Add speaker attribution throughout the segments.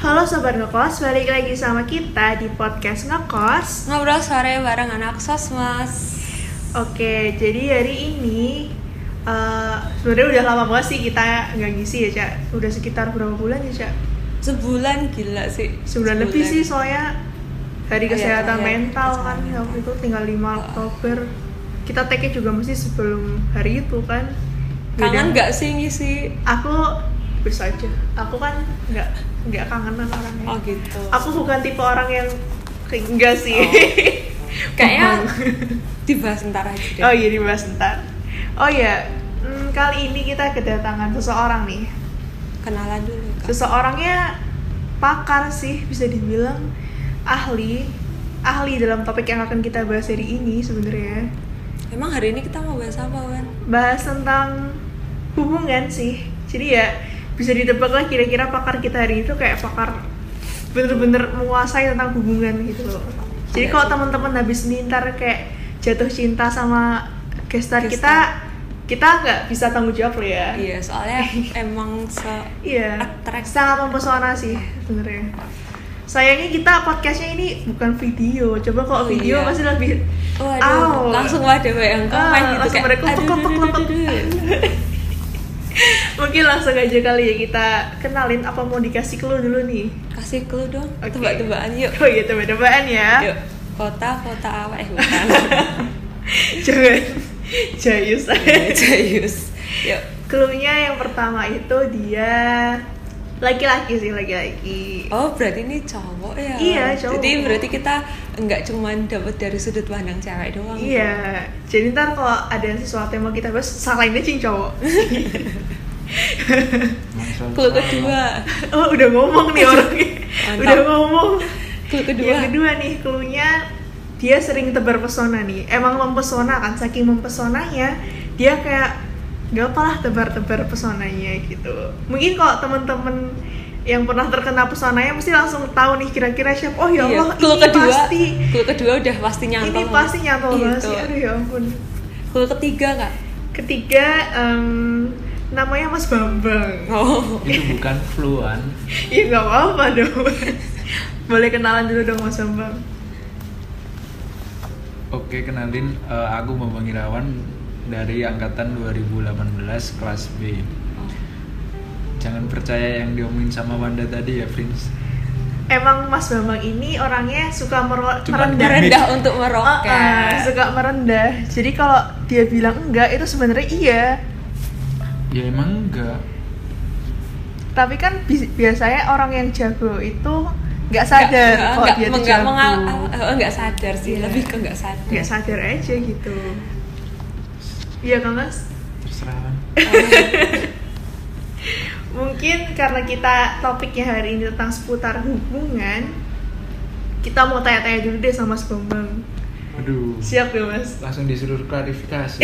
Speaker 1: Halo Sobat Ngekos, balik lagi sama kita di podcast Ngekos
Speaker 2: Ngobrol sore bareng anak sosmas
Speaker 1: Oke, jadi hari ini eh, sebenarnya udah lama banget sih kita nggak ngisi ya, Cak Udah sekitar berapa bulan ya, Cak?
Speaker 2: Sebulan gila sih
Speaker 1: Sebulan lebih sih, soalnya Hari
Speaker 2: Oh iya,
Speaker 1: Kesehatan
Speaker 2: iya,
Speaker 1: Mental
Speaker 2: kesehatan
Speaker 1: kan,
Speaker 2: mental. Iya.
Speaker 1: waktu itu tinggal 5 Oktober Kita tag juga mesti sebelum hari itu kan
Speaker 2: Kangen
Speaker 1: Beda.
Speaker 2: gak sih ngisi?
Speaker 1: Aku bisa aja, aku kan nggak nggak kangenan orangnya
Speaker 2: Oh gitu
Speaker 1: Aku bukan tipe orang yang kayak- enggak sih
Speaker 2: Kayaknya dibahas ntar aja deh
Speaker 1: Oh iya dibahas ntar. Oh iya, hmm, kali ini kita kedatangan seseorang nih.
Speaker 2: Kenalan dulu Kak.
Speaker 1: Seseorangnya pakar sih bisa dibilang ahli, ahli dalam topik yang akan kita bahas hari ini sebenarnya.
Speaker 2: Emang hari ini kita mau bahas apa Wen?
Speaker 1: Bahas tentang hubungan sih. Jadi ya bisa ditebak lah kira-kira pakar kita hari itu kayak pakar bener-bener menguasai tentang hubungan gitu loh. Jadi
Speaker 2: Iya
Speaker 1: kalau
Speaker 2: sih.
Speaker 1: teman-teman habis ini ntar kayak jatuh cinta sama gestar
Speaker 2: Guest
Speaker 1: kita, kita nggak bisa tanggung jawab loh ya.
Speaker 2: Iya soalnya emang se
Speaker 1: Iya,
Speaker 2: Attract.
Speaker 1: sangat mempesona sih sebenarnya. Sayangnya kita podcastnya ini bukan video. Coba kalau
Speaker 2: Oh,
Speaker 1: video
Speaker 2: iya.
Speaker 1: pasti lebih Au.
Speaker 2: Waduh, langsung wadah yang
Speaker 1: Ah,
Speaker 2: komen gitu
Speaker 1: langsung
Speaker 2: kayak
Speaker 1: pada kelepek-kelepek.
Speaker 2: aduh, aduh, aduh, aduh.
Speaker 1: mungkin langsung aja kali ya kita kenalin apa mau dikasih clue dulu nih.
Speaker 2: Kasih clue dong,
Speaker 1: Oke.
Speaker 2: tebak-tebakan yuk
Speaker 1: Oh iya tebak-tebakan ya.
Speaker 2: Yuk, kota-kota apa? Eh bukan
Speaker 1: Jangan jayus aja.
Speaker 2: Jayus Iya, Yuk,
Speaker 1: Clue-nya yang pertama itu dia laki-laki sih laki-laki.
Speaker 2: Oh berarti ini cowok ya?
Speaker 1: Iya, cowok.
Speaker 2: Jadi berarti kita nggak cuman dapat dari sudut pandang cewek doang.
Speaker 1: Iya, jadi ntar kalau ada sesuatu yang mau kita bahas, salahin aja yang cowok.
Speaker 2: Clue kedua,
Speaker 1: Oh udah ngomong nih orangnya,
Speaker 2: Mantap.
Speaker 1: udah ngomong.
Speaker 2: clue kedua.
Speaker 1: Yang Iya, kedua ya nih clue-nya dia sering tebar pesona nih. Emang mempesona kan saking mempesonanya dia kayak gak apalah tebar-tebar pesonanya gitu. Mungkin kalau temen-temen yang pernah terkena pesonanya mesti langsung tahu nih kira-kira siapa. Oh ya Allah,
Speaker 2: Iya, clue
Speaker 1: ini
Speaker 2: kedua,
Speaker 1: pasti
Speaker 2: clue kedua udah pasti nyantol.
Speaker 1: ini pasti nyantol
Speaker 2: Gitu.
Speaker 1: banget sih. Aduh ya ampun.
Speaker 2: Clue ketiga kak.
Speaker 1: Ketiga em, namanya Mas Bambang.
Speaker 2: Oh,
Speaker 3: itu bukan fluan
Speaker 1: Ya nggak apa-apa dong. Boleh kenalan dulu dong Mas Bambang.
Speaker 3: oke kenalin eh, aku Bambang Irawan dari angkatan 2018 kelas B jangan percaya yang diomongin sama Wanda tadi ya Prince
Speaker 1: Emang Mas Bambang ini orangnya suka mero-
Speaker 3: Cuma
Speaker 1: merendah.
Speaker 2: merendah untuk
Speaker 1: Oh, eh,
Speaker 2: meroket.
Speaker 1: suka merendah. Jadi kalau dia bilang enggak itu sebenarnya iya.
Speaker 3: ya emang enggak
Speaker 1: Tapi kan bi- biasanya orang yang jago itu nggak sadar
Speaker 2: Nggak-
Speaker 1: kalau
Speaker 2: nggak-
Speaker 1: dia tuh
Speaker 2: nggak
Speaker 1: jago.
Speaker 2: mengal- eh, nggak sadar sih,
Speaker 1: Iya.
Speaker 2: lebih ke nggak sadar. Eh,
Speaker 1: Nggak sadar aja gitu. Iya kan Mas?
Speaker 3: terserah Wan.
Speaker 1: Mungkin karena kita topiknya hari ini tentang seputar hubungan, kita mau tanya-tanya dulu deh sama Mas Bambang.
Speaker 3: aduh
Speaker 1: Siap ya Mas?
Speaker 3: langsung disuruh klarifikasi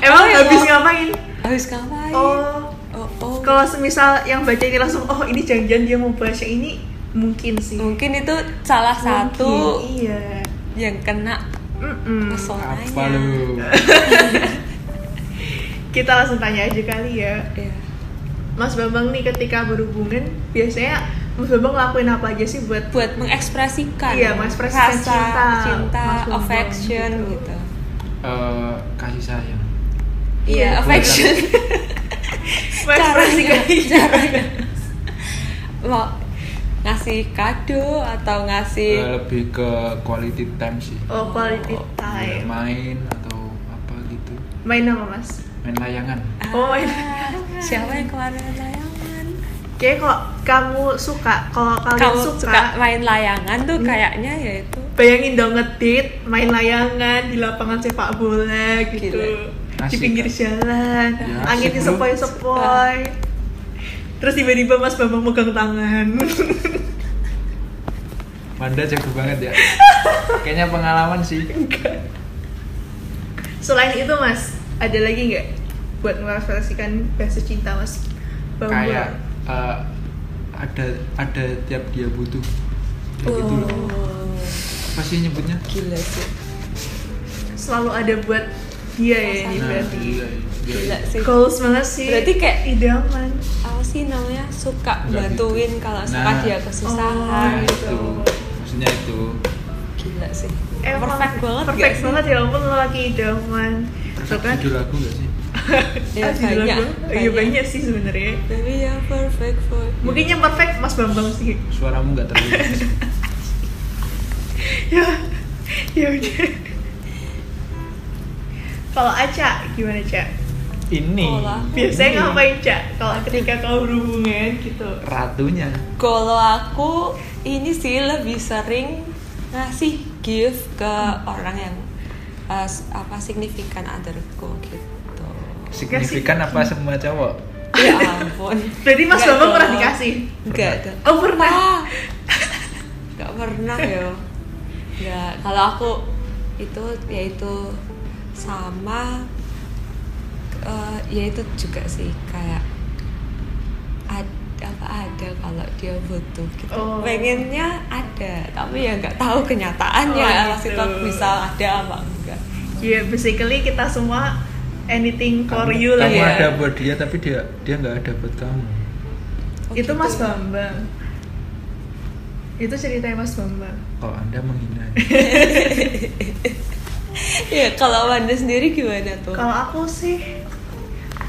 Speaker 1: Emang
Speaker 2: Oh, iya,
Speaker 1: habis
Speaker 2: Mas.
Speaker 1: ngapain?
Speaker 2: Habis ngapain?
Speaker 1: Oh,
Speaker 2: oh, oh.
Speaker 1: kalau semisal yang baca ini langsung oh ini jangan-jangan dia mau bahas yang ini mungkin sih
Speaker 2: mungkin itu salah satu
Speaker 1: Mungkin, iya
Speaker 2: yang kena
Speaker 1: Mm-mm.
Speaker 2: pesonanya.
Speaker 3: Hmm, apa lu
Speaker 1: kita langsung tanya aja kali ya
Speaker 2: Iya.
Speaker 1: Mas Bambang nih ketika berhubungan biasanya Mas Bambang ngelakuin apa aja sih buat
Speaker 2: buat mengekspresikan
Speaker 1: Iya, mengekspresikan
Speaker 2: rasa,
Speaker 1: cinta.
Speaker 2: cinta,
Speaker 1: Mas Bambang
Speaker 2: affection
Speaker 1: gitu.
Speaker 2: gitu,
Speaker 3: Eh, kasih sayang
Speaker 2: iya
Speaker 3: Iya.
Speaker 2: affection
Speaker 1: mengekspresikan Iya.
Speaker 2: caranya caranya mau ngasih kado atau
Speaker 3: Eh,
Speaker 2: ngasih
Speaker 3: lebih ke quality time sih
Speaker 1: oh quality
Speaker 3: Ya,
Speaker 1: time
Speaker 3: main atau apa gitu
Speaker 1: main apa Mas
Speaker 3: main layangan
Speaker 2: ah,
Speaker 1: Oh my
Speaker 2: siapa yang kemarin layangan
Speaker 1: Kayaknya kok kamu suka kalau kalian
Speaker 2: kamu
Speaker 1: suka, Hmm.
Speaker 2: suka main layangan tuh kayaknya ya itu
Speaker 1: bayangin dong ngedit main layangan di lapangan sepak bola gitu
Speaker 3: Gila.
Speaker 1: di
Speaker 3: Asik,
Speaker 1: pinggir
Speaker 3: kan?
Speaker 1: jalan
Speaker 3: Ya,
Speaker 1: anginnya
Speaker 3: asik,
Speaker 1: sepoi
Speaker 3: bro.
Speaker 1: sepoi terus tiba-tiba mas bambang megang tangan
Speaker 3: Wanda jago banget ya kayaknya pengalaman sih
Speaker 1: selain itu mas ada lagi nggak buat merefleksikan bahasa cinta mas bambang
Speaker 3: kayak eh, ada ada tiap dia butuh kayak gitu loh
Speaker 2: Oh,
Speaker 3: apa sih nyebutnya
Speaker 2: gila sih
Speaker 1: selalu ada buat dia ya ini
Speaker 3: Nah,
Speaker 1: berarti
Speaker 3: iya, iya.
Speaker 2: gila sih
Speaker 1: goals banget sih
Speaker 2: Berarti kayak-
Speaker 1: idaman
Speaker 2: apa sih namanya suka
Speaker 3: Nggak
Speaker 2: bantuin
Speaker 3: gitu.
Speaker 2: kalau
Speaker 3: Nah.
Speaker 2: suka dia
Speaker 1: Ah,
Speaker 3: Nah,
Speaker 2: kesusahan
Speaker 1: gitu.
Speaker 3: itu maksudnya itu
Speaker 2: gila sih
Speaker 1: Emang
Speaker 2: perfect banget
Speaker 1: perfect
Speaker 2: nggak sih?
Speaker 1: banget ya ampun lelaki idaman tuh kan
Speaker 3: judul aku gak sih
Speaker 1: Ah,
Speaker 2: Ya,
Speaker 1: judul
Speaker 2: banyak,
Speaker 1: aku. iya
Speaker 2: banyak.
Speaker 1: banyak sih sebenarnya
Speaker 2: tapi yang perfect for you.
Speaker 1: mungkin yang perfect mas bambang sih
Speaker 3: suaramu gak terlalu bagus.
Speaker 1: ya ya udah kalau Aca gimana Ca?
Speaker 3: ini
Speaker 2: Olah.
Speaker 1: Oh, Biasanya
Speaker 3: ini
Speaker 1: ngapain Ca? Kalau ketika kau berhubungan gitu
Speaker 3: ratunya
Speaker 2: Kalau aku ini sih lebih sering ngasih gift ke orang yang uh, s- apa signifikan otherku gitu.
Speaker 3: signifikan apa semua cowok
Speaker 2: Ya ampun.
Speaker 1: Berarti Mas
Speaker 2: Nggak
Speaker 1: Bambang pernah
Speaker 2: dong.
Speaker 1: dikasih?
Speaker 2: Nggak
Speaker 3: Pernah.
Speaker 2: dong.
Speaker 1: Oh, pernah.
Speaker 2: Ah. Nggak pernah ya. Nggak. Kalau aku itu yaitu sama eh, yaitu juga sih kayak ada apa ada kalau dia butuh gitu
Speaker 1: Oh.
Speaker 2: pengennya ada tapi ya nggak tahu kenyataannya
Speaker 1: Oh, gitu.
Speaker 2: masih tetap bisa ada apa enggak
Speaker 1: Ya, basically kita semua anything for
Speaker 3: kamu,
Speaker 1: you lah
Speaker 3: kamu
Speaker 1: ya.
Speaker 3: ada buat dia tapi dia dia nggak ada buat kamu
Speaker 2: Oh,
Speaker 1: Itu
Speaker 2: gitu.
Speaker 1: Mas Bambang. Itu ceritanya Mas Bambang.
Speaker 3: kalau anda menghina
Speaker 2: ya kalau Wanda sendiri gimana tuh
Speaker 1: Kalau aku sih,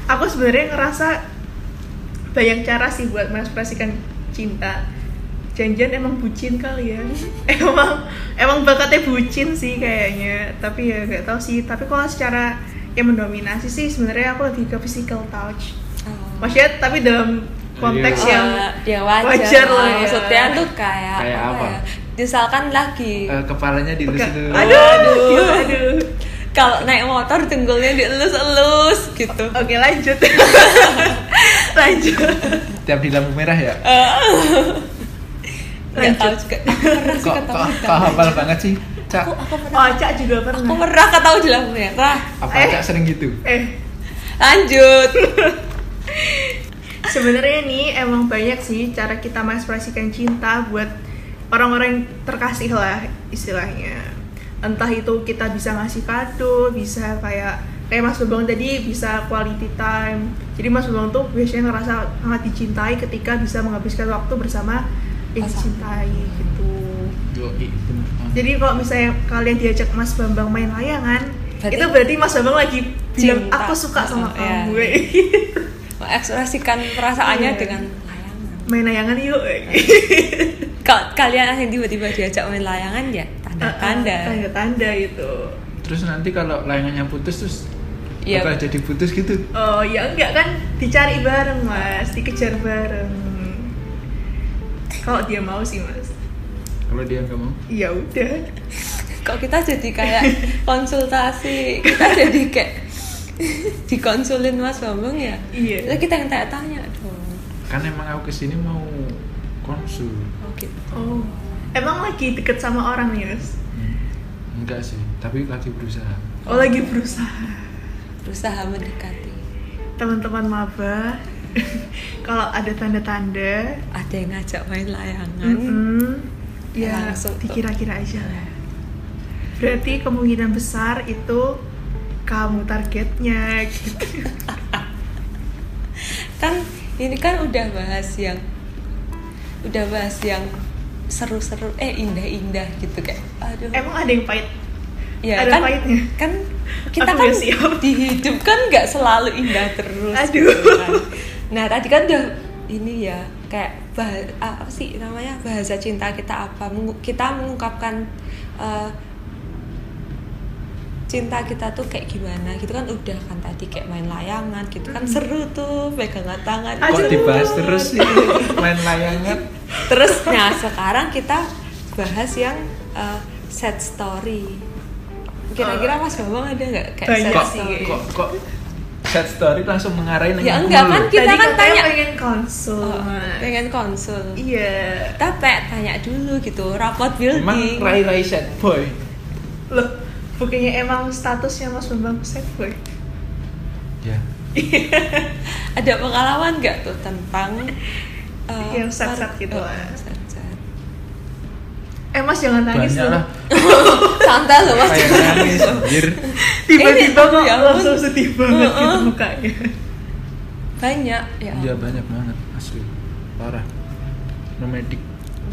Speaker 1: aku sebenarnya ngerasa banyak cara sih buat mengekspresikan cinta. Janjian emang bucin kali ya. emang emang bakatnya bucin sih kayaknya. Tapi ya gak tahu sih. Tapi kalau secara yang mendominasi sih sebenarnya aku lebih ke physical touch.
Speaker 2: Oh.
Speaker 1: Maksudnya tapi dalam konteks
Speaker 3: Iya.
Speaker 1: yang
Speaker 2: Oh, ya wajar,
Speaker 1: wajar
Speaker 2: lah.
Speaker 1: lah ya.
Speaker 2: maksudnya tuh kayak,
Speaker 3: Kayak apa?
Speaker 2: ya, misalkan lagi
Speaker 3: Eh, kepalanya dilus
Speaker 1: Pegang.
Speaker 3: dulu
Speaker 1: Aduh,
Speaker 2: Aduh.
Speaker 1: aduh, aduh.
Speaker 2: kalau naik motor dengkulnya dielus-elus gitu
Speaker 1: Oke lanjut. lanjut.
Speaker 3: tiap di lampu merah ya
Speaker 2: nggak tahu juga pernah sih ketemu di
Speaker 3: kok kok kok
Speaker 2: lampu
Speaker 3: hafal banget sih cak
Speaker 2: aku aku pernah
Speaker 1: Oh, Cak juga pernah.
Speaker 2: aku pernah ketemu di lampu merah
Speaker 3: apa
Speaker 1: Eh.
Speaker 3: cak sering gitu
Speaker 1: eh,
Speaker 2: lanjut
Speaker 1: sebenarnya nih emang banyak sih cara kita mengekspresikan cinta buat orang-orang yang terkasih lah istilahnya. Entah itu kita bisa ngasih kado, bisa kayak kayak Mas Bambang tadi bisa quality time. Jadi Mas Bambang tuh biasanya ngerasa sangat dicintai ketika bisa menghabiskan waktu bersama yang
Speaker 2: Pasangan.
Speaker 1: dicintai gitu.
Speaker 3: Yoi, bener banget.
Speaker 1: Jadi kalau misalnya kalian diajak Mas Bambang main layangan,
Speaker 2: Berarti-
Speaker 1: itu berarti Mas Bambang lagi bilang
Speaker 2: Cinta.
Speaker 1: aku suka sama
Speaker 2: Oh, iya.
Speaker 1: kamu. eh."
Speaker 2: mengekspresikan
Speaker 1: Iya.
Speaker 2: perasaannya dengan layangan
Speaker 1: main layangan yuk. eh.
Speaker 2: kalau kalian yang tiba-tiba diajak main layangan ya tanda-tanda
Speaker 1: Ah, Eh, Tanda-tanda gitu.
Speaker 3: terus nanti kalau layangannya putus terus
Speaker 2: Iya.
Speaker 3: bakal jadi putus gitu
Speaker 1: Oh ya enggak kan dicari bareng Mas, dikejar bareng. Kalau dia mau sih Mas.
Speaker 3: kalau dia nggak mau
Speaker 1: Ya udah. eh.
Speaker 2: kok kita jadi kayak konsultasi kita jadi kayak dikonsulin mas bambang ya
Speaker 1: Iya.
Speaker 2: Terus kita yang tanya-tanya dong
Speaker 3: kan emang aku kesini mau konsul
Speaker 2: oh gitu
Speaker 1: Oh. Emang lagi deket sama orang ya, Mas?
Speaker 3: Hmm. enggak sih tapi lagi berusaha
Speaker 1: Oh, lagi berusaha.
Speaker 2: berusaha mendekati
Speaker 1: Teman-teman maba, kalau ada tanda-tanda,
Speaker 2: ada yang ngajak main layangan
Speaker 1: Mm-mm. Ya,
Speaker 2: Hmm. Langsung tuh.
Speaker 1: dikira-kira aja lah. Berarti kemungkinan besar itu kamu targetnya gitu.
Speaker 2: kan ini kan udah bahas yang udah bahas yang seru-seru eh indah-indah gitu kayak aduh
Speaker 1: Emang ada yang pahit?
Speaker 2: ya
Speaker 1: ada
Speaker 2: kan
Speaker 1: pahitnya.
Speaker 2: kan kita
Speaker 1: Aku
Speaker 2: kan
Speaker 1: udah siap.
Speaker 2: di hidup kan nggak selalu indah terus
Speaker 1: Aduh.
Speaker 2: gitu kan. nah tadi kan udah ini ya kayak bah- apa sih namanya bahasa cinta kita apa Mengu- kita mengungkapkan eh, cinta kita tuh kayak gimana gitu kan udah kan tadi kayak main layangan gitu kan seru tuh pegangan tangan
Speaker 1: Aduh.
Speaker 3: kok dibahas terus sih main layangan
Speaker 2: terus nah sekarang kita bahas yang eh, sad story kira-kira mas bambang ada nggak kayak
Speaker 1: Banyak
Speaker 2: sad
Speaker 3: kok
Speaker 1: sih.
Speaker 2: story
Speaker 3: kok kok sad story langsung mengarahin
Speaker 2: Ya,
Speaker 3: yang
Speaker 2: enggak
Speaker 3: dulu.
Speaker 2: kan, Kita
Speaker 1: Tadi katanya
Speaker 2: tanya-
Speaker 1: pengen konsul.
Speaker 2: Oh,
Speaker 1: Mas.
Speaker 2: pengen konsul
Speaker 1: Iya.
Speaker 2: kita pe- tanya dulu gitu rapot
Speaker 3: emang
Speaker 2: building
Speaker 3: rai rai sad boy
Speaker 1: Loh, bukannya emang statusnya Mas Bambang set boy?
Speaker 3: ya
Speaker 2: ada pengalaman nggak tuh tentang eh, oh,
Speaker 1: Yang Iya, sad-sad gitu
Speaker 2: per-
Speaker 1: lah.
Speaker 2: sad-sad.
Speaker 1: eh mas jangan nangis
Speaker 3: banyak
Speaker 1: loh.
Speaker 3: lah
Speaker 2: santai loh mas
Speaker 3: kayak nangis anjir
Speaker 2: Ini
Speaker 1: tiba-tiba
Speaker 2: tapi
Speaker 1: kok
Speaker 2: ya ampun. Oh,
Speaker 1: langsung sedih banget gitu
Speaker 2: Heeh.
Speaker 1: mukanya
Speaker 2: banyak ya
Speaker 3: iya banyak banget asli parah nomadik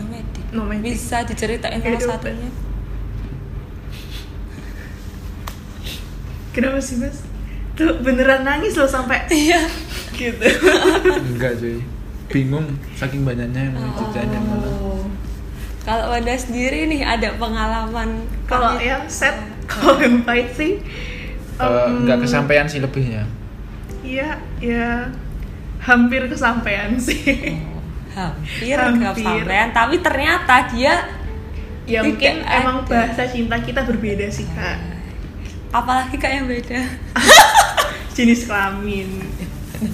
Speaker 2: nomadik
Speaker 1: Nomadik.
Speaker 2: bisa diceritain salah
Speaker 1: Kehidupan.
Speaker 2: satunya
Speaker 1: kenapa sih mas tuh beneran nangis loh sampai
Speaker 2: iya
Speaker 1: gitu
Speaker 3: enggak cuy bingung saking banyaknya yang
Speaker 2: Oh.
Speaker 3: mau ceritanya malah
Speaker 2: kalau Wanda sendiri nih ada pengalaman
Speaker 1: kalau
Speaker 2: pahit?
Speaker 1: yang set kalau yang pahit sih
Speaker 2: Oh.
Speaker 3: Eh,
Speaker 1: em,
Speaker 3: enggak kesampaian sih lebihnya
Speaker 1: iya ya hampir kesampaian sih
Speaker 2: hampir
Speaker 1: Hampir.
Speaker 2: nggak sampean tapi ternyata dia
Speaker 1: ya
Speaker 2: Tidak
Speaker 1: mungkin
Speaker 2: ada.
Speaker 1: emang bahasa cinta kita berbeda sih kak
Speaker 2: apalagi kayak yang beda
Speaker 1: jenis kelamin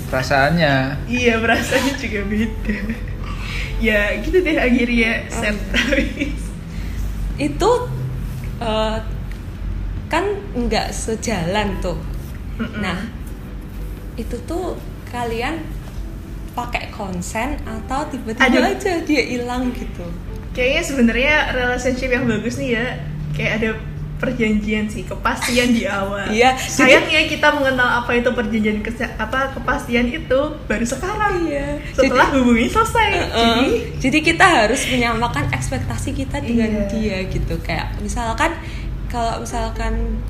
Speaker 3: perasaannya
Speaker 1: iya rasanya juga beda ya gitu deh akhirnya set habis.
Speaker 2: itu eh, kan nggak sejalan tuh
Speaker 1: Mm-mm.
Speaker 2: nah itu tuh kalian pakai konsen atau tiba-tiba
Speaker 1: Ada-
Speaker 2: aja dia hilang gitu
Speaker 1: kayaknya sebenarnya relationship yang bagus nih ya kayak ada perjanjian sih kepastian di awal
Speaker 2: Iya,
Speaker 1: sayangnya kita mengenal apa itu perjanjian kese- apa kepastian itu baru sekarang
Speaker 2: Iya.
Speaker 1: setelah hubungannya selesai
Speaker 2: Jadi,
Speaker 1: jadi
Speaker 2: jadi kita harus menyamakan ekspektasi kita dengan
Speaker 1: Iya.
Speaker 2: dia gitu kayak misalkan kalau misalkan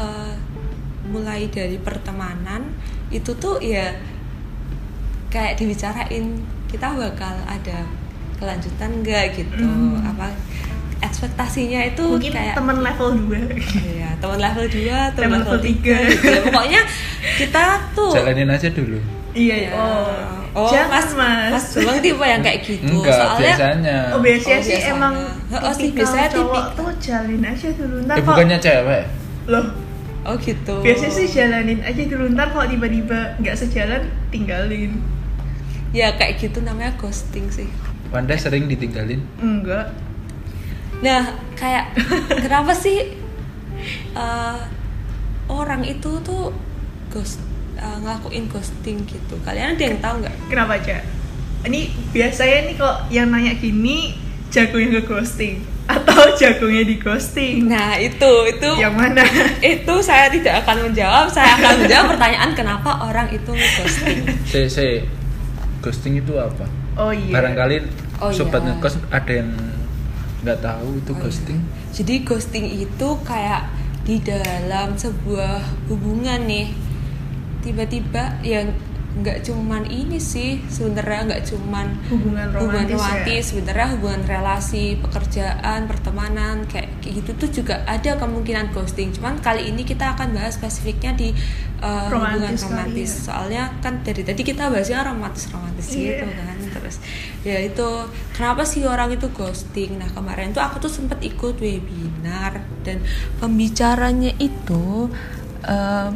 Speaker 2: eh, mulai dari pertemanan itu tuh ya kayak dibicarain kita bakal ada kelanjutan nggak gitu
Speaker 1: Hmm.
Speaker 2: apa ekspektasinya itu
Speaker 1: mungkin
Speaker 2: kayak
Speaker 1: teman level 2
Speaker 2: Iya, teman level 2, teman
Speaker 1: Teman
Speaker 2: level
Speaker 1: level
Speaker 2: 3.
Speaker 1: tiga.
Speaker 2: Pokoknya kita tuh
Speaker 3: jalanin aja dulu
Speaker 1: iya
Speaker 2: Ya.
Speaker 1: oh,
Speaker 2: Oh,
Speaker 1: Jangan,
Speaker 2: mas, mas, Bambang tipe yang kayak gitu.
Speaker 3: enggak
Speaker 2: Soalnya
Speaker 3: biasanya
Speaker 1: Oh biasanya
Speaker 2: Oh,
Speaker 1: sih
Speaker 2: biasanya.
Speaker 1: emang
Speaker 2: Heeh sih,
Speaker 1: tipikal
Speaker 2: biasanya
Speaker 1: cowok
Speaker 2: tipikal.
Speaker 1: tuh jalin aja dulu ntar
Speaker 3: eh
Speaker 1: kok
Speaker 3: bukannya cewek
Speaker 1: loh
Speaker 2: oh gitu.
Speaker 1: biasanya sih jalanin aja dulu ntar kalau tiba-tiba nggak sejalan tinggalin
Speaker 2: Ya kayak gitu namanya ghosting sih.
Speaker 3: Wanda sering ditinggalin
Speaker 1: enggak
Speaker 2: Nah, kayak kenapa sih eh, orang itu tuh ghost eh, ngelakuin ghosting gitu? Kalian ada yang tahu nggak?
Speaker 1: kenapa aja ini biasanya nih kok yang nanya gini jagonya ke ghosting atau jagonya di ghosting
Speaker 2: Nah, itu itu
Speaker 1: yang mana
Speaker 2: itu saya tidak akan menjawab. Saya akan menjawab pertanyaan kenapa orang itu ghosting.
Speaker 3: se se ghosting itu apa
Speaker 1: oh iya
Speaker 3: barangkali
Speaker 2: Oh,
Speaker 3: sobat
Speaker 2: iya.
Speaker 3: ngekos ada yang nggak tahu itu
Speaker 2: Oh,
Speaker 3: ghosting
Speaker 2: iya. Jadi ghosting itu kayak di dalam sebuah hubungan nih tiba-tiba yang nggak cuman ini sih sebenarnya nggak cuman
Speaker 1: hubungan
Speaker 2: hubungan
Speaker 1: romantis,
Speaker 2: romantis
Speaker 1: ya
Speaker 2: sebenarnya hubungan relasi pekerjaan pertemanan kayak kayak gitu tuh juga ada kemungkinan ghosting cuman kali ini kita akan bahas spesifiknya di uh, hubungan
Speaker 1: Romantis kali
Speaker 2: romantis
Speaker 1: ya.
Speaker 2: soalnya kan dari tadi kita bahasnya romantis romantis
Speaker 1: Iya.
Speaker 2: gitu kan terus ya itu kenapa sih orang itu ghosting nah kemarin tuh aku tuh sempet ikut webinar dan pembicaranya itu eh,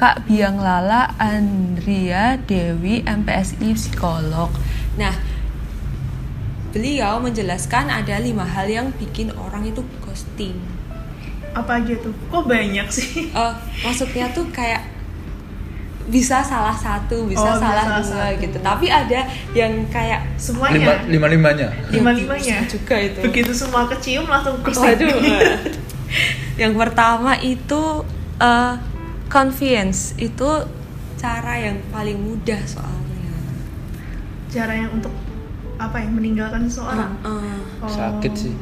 Speaker 2: Kak Biang Lala Andrea Dewi MPSI psikolog nah beliau menjelaskan ada lima hal yang bikin orang itu ghosting
Speaker 1: apa aja tuh kok banyak sih
Speaker 2: Eh, maksudnya tuh kayak bisa salah satu bisa
Speaker 1: Oh, bisa
Speaker 2: salah
Speaker 1: salah
Speaker 2: dua
Speaker 1: satu.
Speaker 2: gitu tapi ada yang kayak
Speaker 3: lima
Speaker 1: semuanya
Speaker 3: lima limanya
Speaker 1: lima-limanya
Speaker 2: Bisa juga itu
Speaker 1: begitu semua kecium langsung ghosting
Speaker 2: Waduh. eh. yang pertama itu eh, convenience itu cara yang paling mudah soalnya.
Speaker 1: cara yang untuk apa ya meninggalkan seseorang
Speaker 2: Heeh.
Speaker 1: Oh.
Speaker 3: sakit sih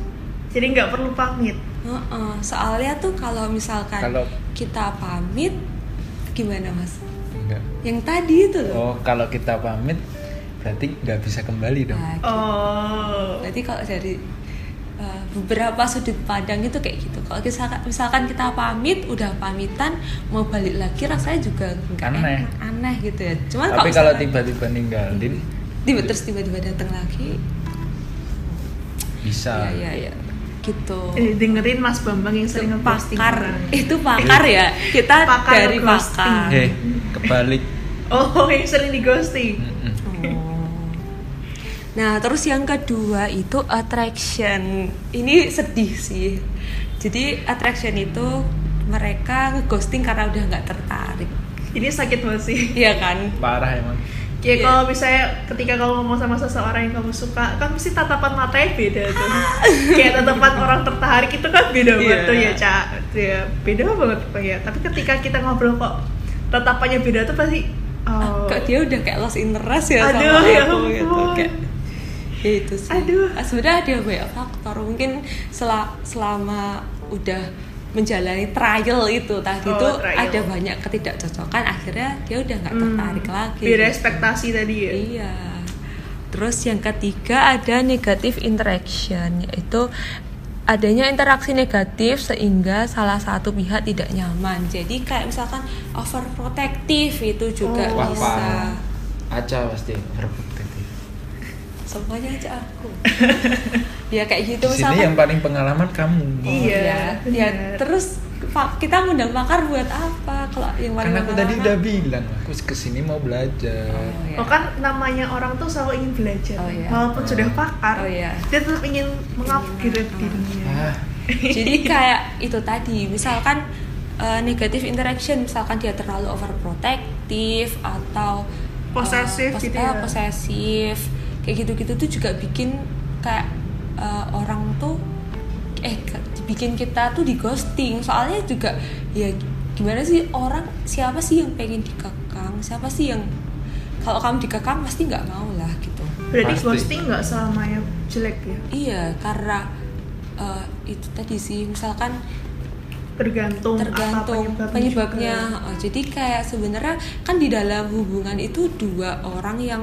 Speaker 1: jadi nggak perlu pamit
Speaker 2: Heeh. Eh, Soalnya tuh kalau misalkan
Speaker 3: Kalau-
Speaker 2: kita pamit gimana mas?
Speaker 3: enggak
Speaker 2: Yang tadi itu loh.
Speaker 3: oh kalau kita pamit berarti nggak bisa kembali dong
Speaker 2: Nah, gitu.
Speaker 1: oh
Speaker 2: Berarti kalau dari uh, beberapa sudut pandang itu kayak gitu. Kalau misalkan, misalkan kita pamit, udah pamitan, mau balik lagi rasanya juga nggak
Speaker 3: Aneh.
Speaker 2: enak, aneh gitu ya. Cuman
Speaker 3: tapi kalau
Speaker 2: misalkan-
Speaker 3: tiba-tiba ninggalin
Speaker 2: tiba terus tiba-tiba datang lagi.
Speaker 3: bisa
Speaker 2: Ya ya ya. Gitu.
Speaker 1: Eh, dengerin Mas Bambang yang sering
Speaker 2: Itu
Speaker 1: ngeposting
Speaker 2: pakar.
Speaker 1: orang.
Speaker 2: Itu pakar ya. Kita
Speaker 1: Pakar
Speaker 2: dari
Speaker 1: ghosting.
Speaker 2: pakar.
Speaker 3: eh kebalik
Speaker 1: Oh, yang sering di ghosting.
Speaker 3: Mm-mm.
Speaker 2: Oh. Nah, terus yang kedua itu attraction. Ini sedih sih. Jadi attraction itu mereka ghosting karena udah nggak tertarik.
Speaker 1: Ini sakit banget sih.
Speaker 2: Iya kan?
Speaker 3: parah emang
Speaker 1: Ya
Speaker 2: Iya.
Speaker 1: kalau misalnya ketika kamu ngomong sama seseorang yang kamu suka, kan pasti tatapan matanya beda tuh.
Speaker 2: Ah.
Speaker 1: Kayak tatapan orang tertarik itu kan beda banget
Speaker 3: Iya.
Speaker 1: tuh ya, Cak. Itu Ya, beda banget Pak, ya. Tapi ketika kita ngobrol kok tatapannya beda tuh pasti oh,
Speaker 2: Ah, kok dia udah kayak lost interest ya
Speaker 1: Aduh,
Speaker 2: sama
Speaker 1: ya
Speaker 2: aku gitu
Speaker 1: ampun.
Speaker 2: kayak ya itu sih
Speaker 1: Aduh.
Speaker 2: Ah, sebenarnya ada banyak faktor mungkin sel- selama udah menjalani trial itu tadi
Speaker 1: Oh,
Speaker 2: itu
Speaker 1: trial.
Speaker 2: ada banyak ketidakcocokan akhirnya dia udah nggak
Speaker 1: hmm,
Speaker 2: tertarik lagi
Speaker 1: Beda ekspektasi tadi ya.
Speaker 2: Iya. Terus yang ketiga ada negative interaction yaitu adanya interaksi negatif sehingga salah satu pihak tidak nyaman. Jadi kayak misalkan overprotective itu juga
Speaker 1: Oh. Wah,
Speaker 2: bisa.
Speaker 3: parah. Aca pasti gitu. overprotective.
Speaker 2: Semuanya aja aku. ya kayak gitu
Speaker 3: Di sini yang
Speaker 2: misalkan.
Speaker 3: paling pengalaman kamu.
Speaker 2: Oh,
Speaker 1: Iya,
Speaker 2: ya. Ya,
Speaker 1: benar.
Speaker 2: terus Pak, kita ngundang pakar buat apa kalau yang paling
Speaker 3: Karena aku tadi
Speaker 2: pengalaman-
Speaker 3: udah bilang aku kesini mau belajar.
Speaker 2: Oh, ya.
Speaker 1: Oh kan namanya orang tuh selalu ingin belajar,
Speaker 2: Oh, iya.
Speaker 1: walaupun
Speaker 3: Oh.
Speaker 1: sudah pakar,
Speaker 2: Oh, iya.
Speaker 1: dia tetap ingin mengupgrade
Speaker 2: Ingin, oh.
Speaker 1: dirinya.
Speaker 3: Ah,
Speaker 2: jadi kayak itu tadi misalkan eh, negative interaction misalkan dia terlalu overprotective atau eh,
Speaker 1: Posesif
Speaker 2: pos-
Speaker 1: gitu
Speaker 2: eh,
Speaker 1: ya.
Speaker 2: posesif kayak gitu-gitu tuh juga bikin kayak eh, orang tuh eh ke- bikin kita tuh di ghosting soalnya juga ya gimana sih orang siapa sih yang pengen dikekang siapa sih yang kalau kamu dikekang pasti nggak mau lah gitu
Speaker 1: Berarti
Speaker 3: Pasti.
Speaker 1: ghosting nggak selamanya jelek ya,
Speaker 2: iya karena eh, itu tadi sih misalkan
Speaker 1: tergantung,
Speaker 2: tergantung
Speaker 1: apa penyebabnya.
Speaker 2: penyebabnya.
Speaker 1: juga.
Speaker 2: Oh, jadi kayak sebenarnya kan di dalam hubungan itu dua orang yang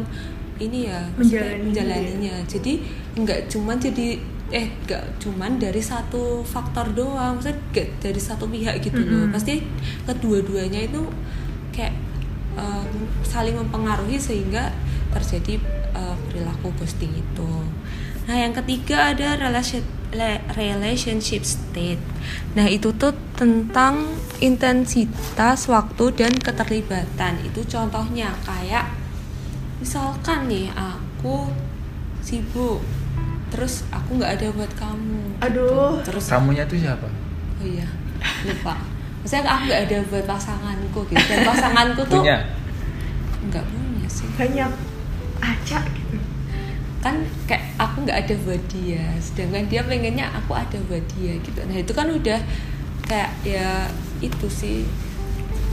Speaker 2: ini ya maksudnya
Speaker 1: Menjalani.
Speaker 2: menjalaninya. Jadi nggak cuman jadi eh nggak cuman dari satu faktor doang, maksudnya nggak dari satu pihak gitu loh.
Speaker 1: Mm-mm.
Speaker 2: Pasti kedua-duanya itu kayak eh, saling mempengaruhi sehingga terjadi eh, perilaku ghosting itu. Nah, yang ketiga ada relation- le- relationship state. Nah, itu tuh tentang intensitas waktu dan keterlibatan. Itu contohnya kayak misalkan nih aku sibuk terus aku nggak ada buat kamu. gitu.
Speaker 1: Aduh.
Speaker 2: Terus
Speaker 3: kamunya tuh siapa?
Speaker 2: Oh iya, lupa. Maksudnya aku nggak ada buat pasanganku gitu. Dan pasanganku tuh
Speaker 3: Punya.
Speaker 2: nggak punya sih.
Speaker 1: banyak acak gitu
Speaker 2: Kan kayak aku nggak ada buat dia. Sedangkan dia pengennya aku ada buat dia gitu. Nah itu kan udah kayak ya itu sih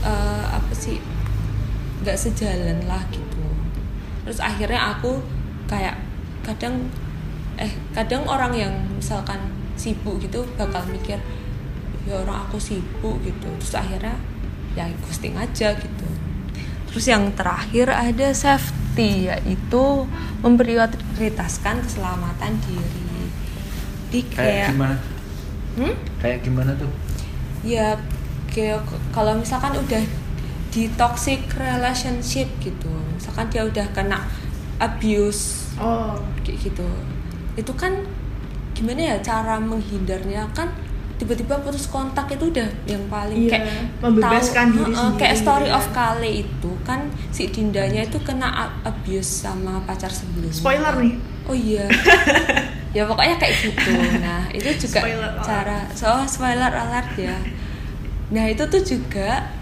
Speaker 2: eh, apa sih nggak sejalan lah gitu. Terus akhirnya aku kayak kadang eh kadang orang yang misalkan sibuk gitu bakal mikir ya orang aku sibuk gitu terus akhirnya ya ghosting aja gitu terus yang terakhir ada safety yaitu memprioritaskan keselamatan diri di
Speaker 3: Kayak
Speaker 2: kayak
Speaker 3: gimana?
Speaker 2: Hmm?
Speaker 3: Kayak gimana tuh?
Speaker 2: ya kayak kalau misalkan udah di toxic relationship gitu misalkan dia udah kena abuse
Speaker 1: oh
Speaker 2: kayak gitu itu kan gimana ya cara menghindarnya kan tiba-tiba putus kontak itu udah yang paling
Speaker 1: Iya,
Speaker 2: kayak
Speaker 1: membebaskan diri
Speaker 2: Heeh,
Speaker 1: sendiri
Speaker 2: kayak story
Speaker 1: gitu
Speaker 2: of
Speaker 1: ya.
Speaker 2: Kale itu kan si Dindanya itu kena a- abuse sama pacar sebelumnya
Speaker 1: spoiler nih
Speaker 2: oh iya ya pokoknya kayak gitu nah itu juga
Speaker 1: Spoiler alert.
Speaker 2: cara so spoiler alert ya nah itu tuh juga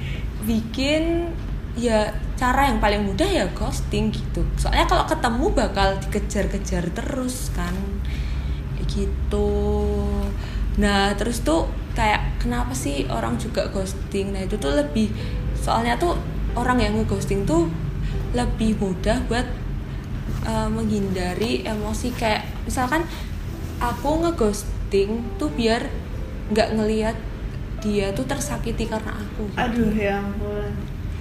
Speaker 2: bikin ya cara yang paling mudah ya ghosting gitu soalnya kalau ketemu bakal dikejar-kejar terus kan Kayak gitu nah terus tuh kayak kenapa sih orang juga ghosting nah itu tuh lebih soalnya tuh orang yang ngeghosting tuh lebih mudah buat eh, menghindari emosi kayak misalkan aku ngeghosting tuh biar nggak ngelihat dia tuh tersakiti karena aku. gitu.
Speaker 1: aduh ya ampun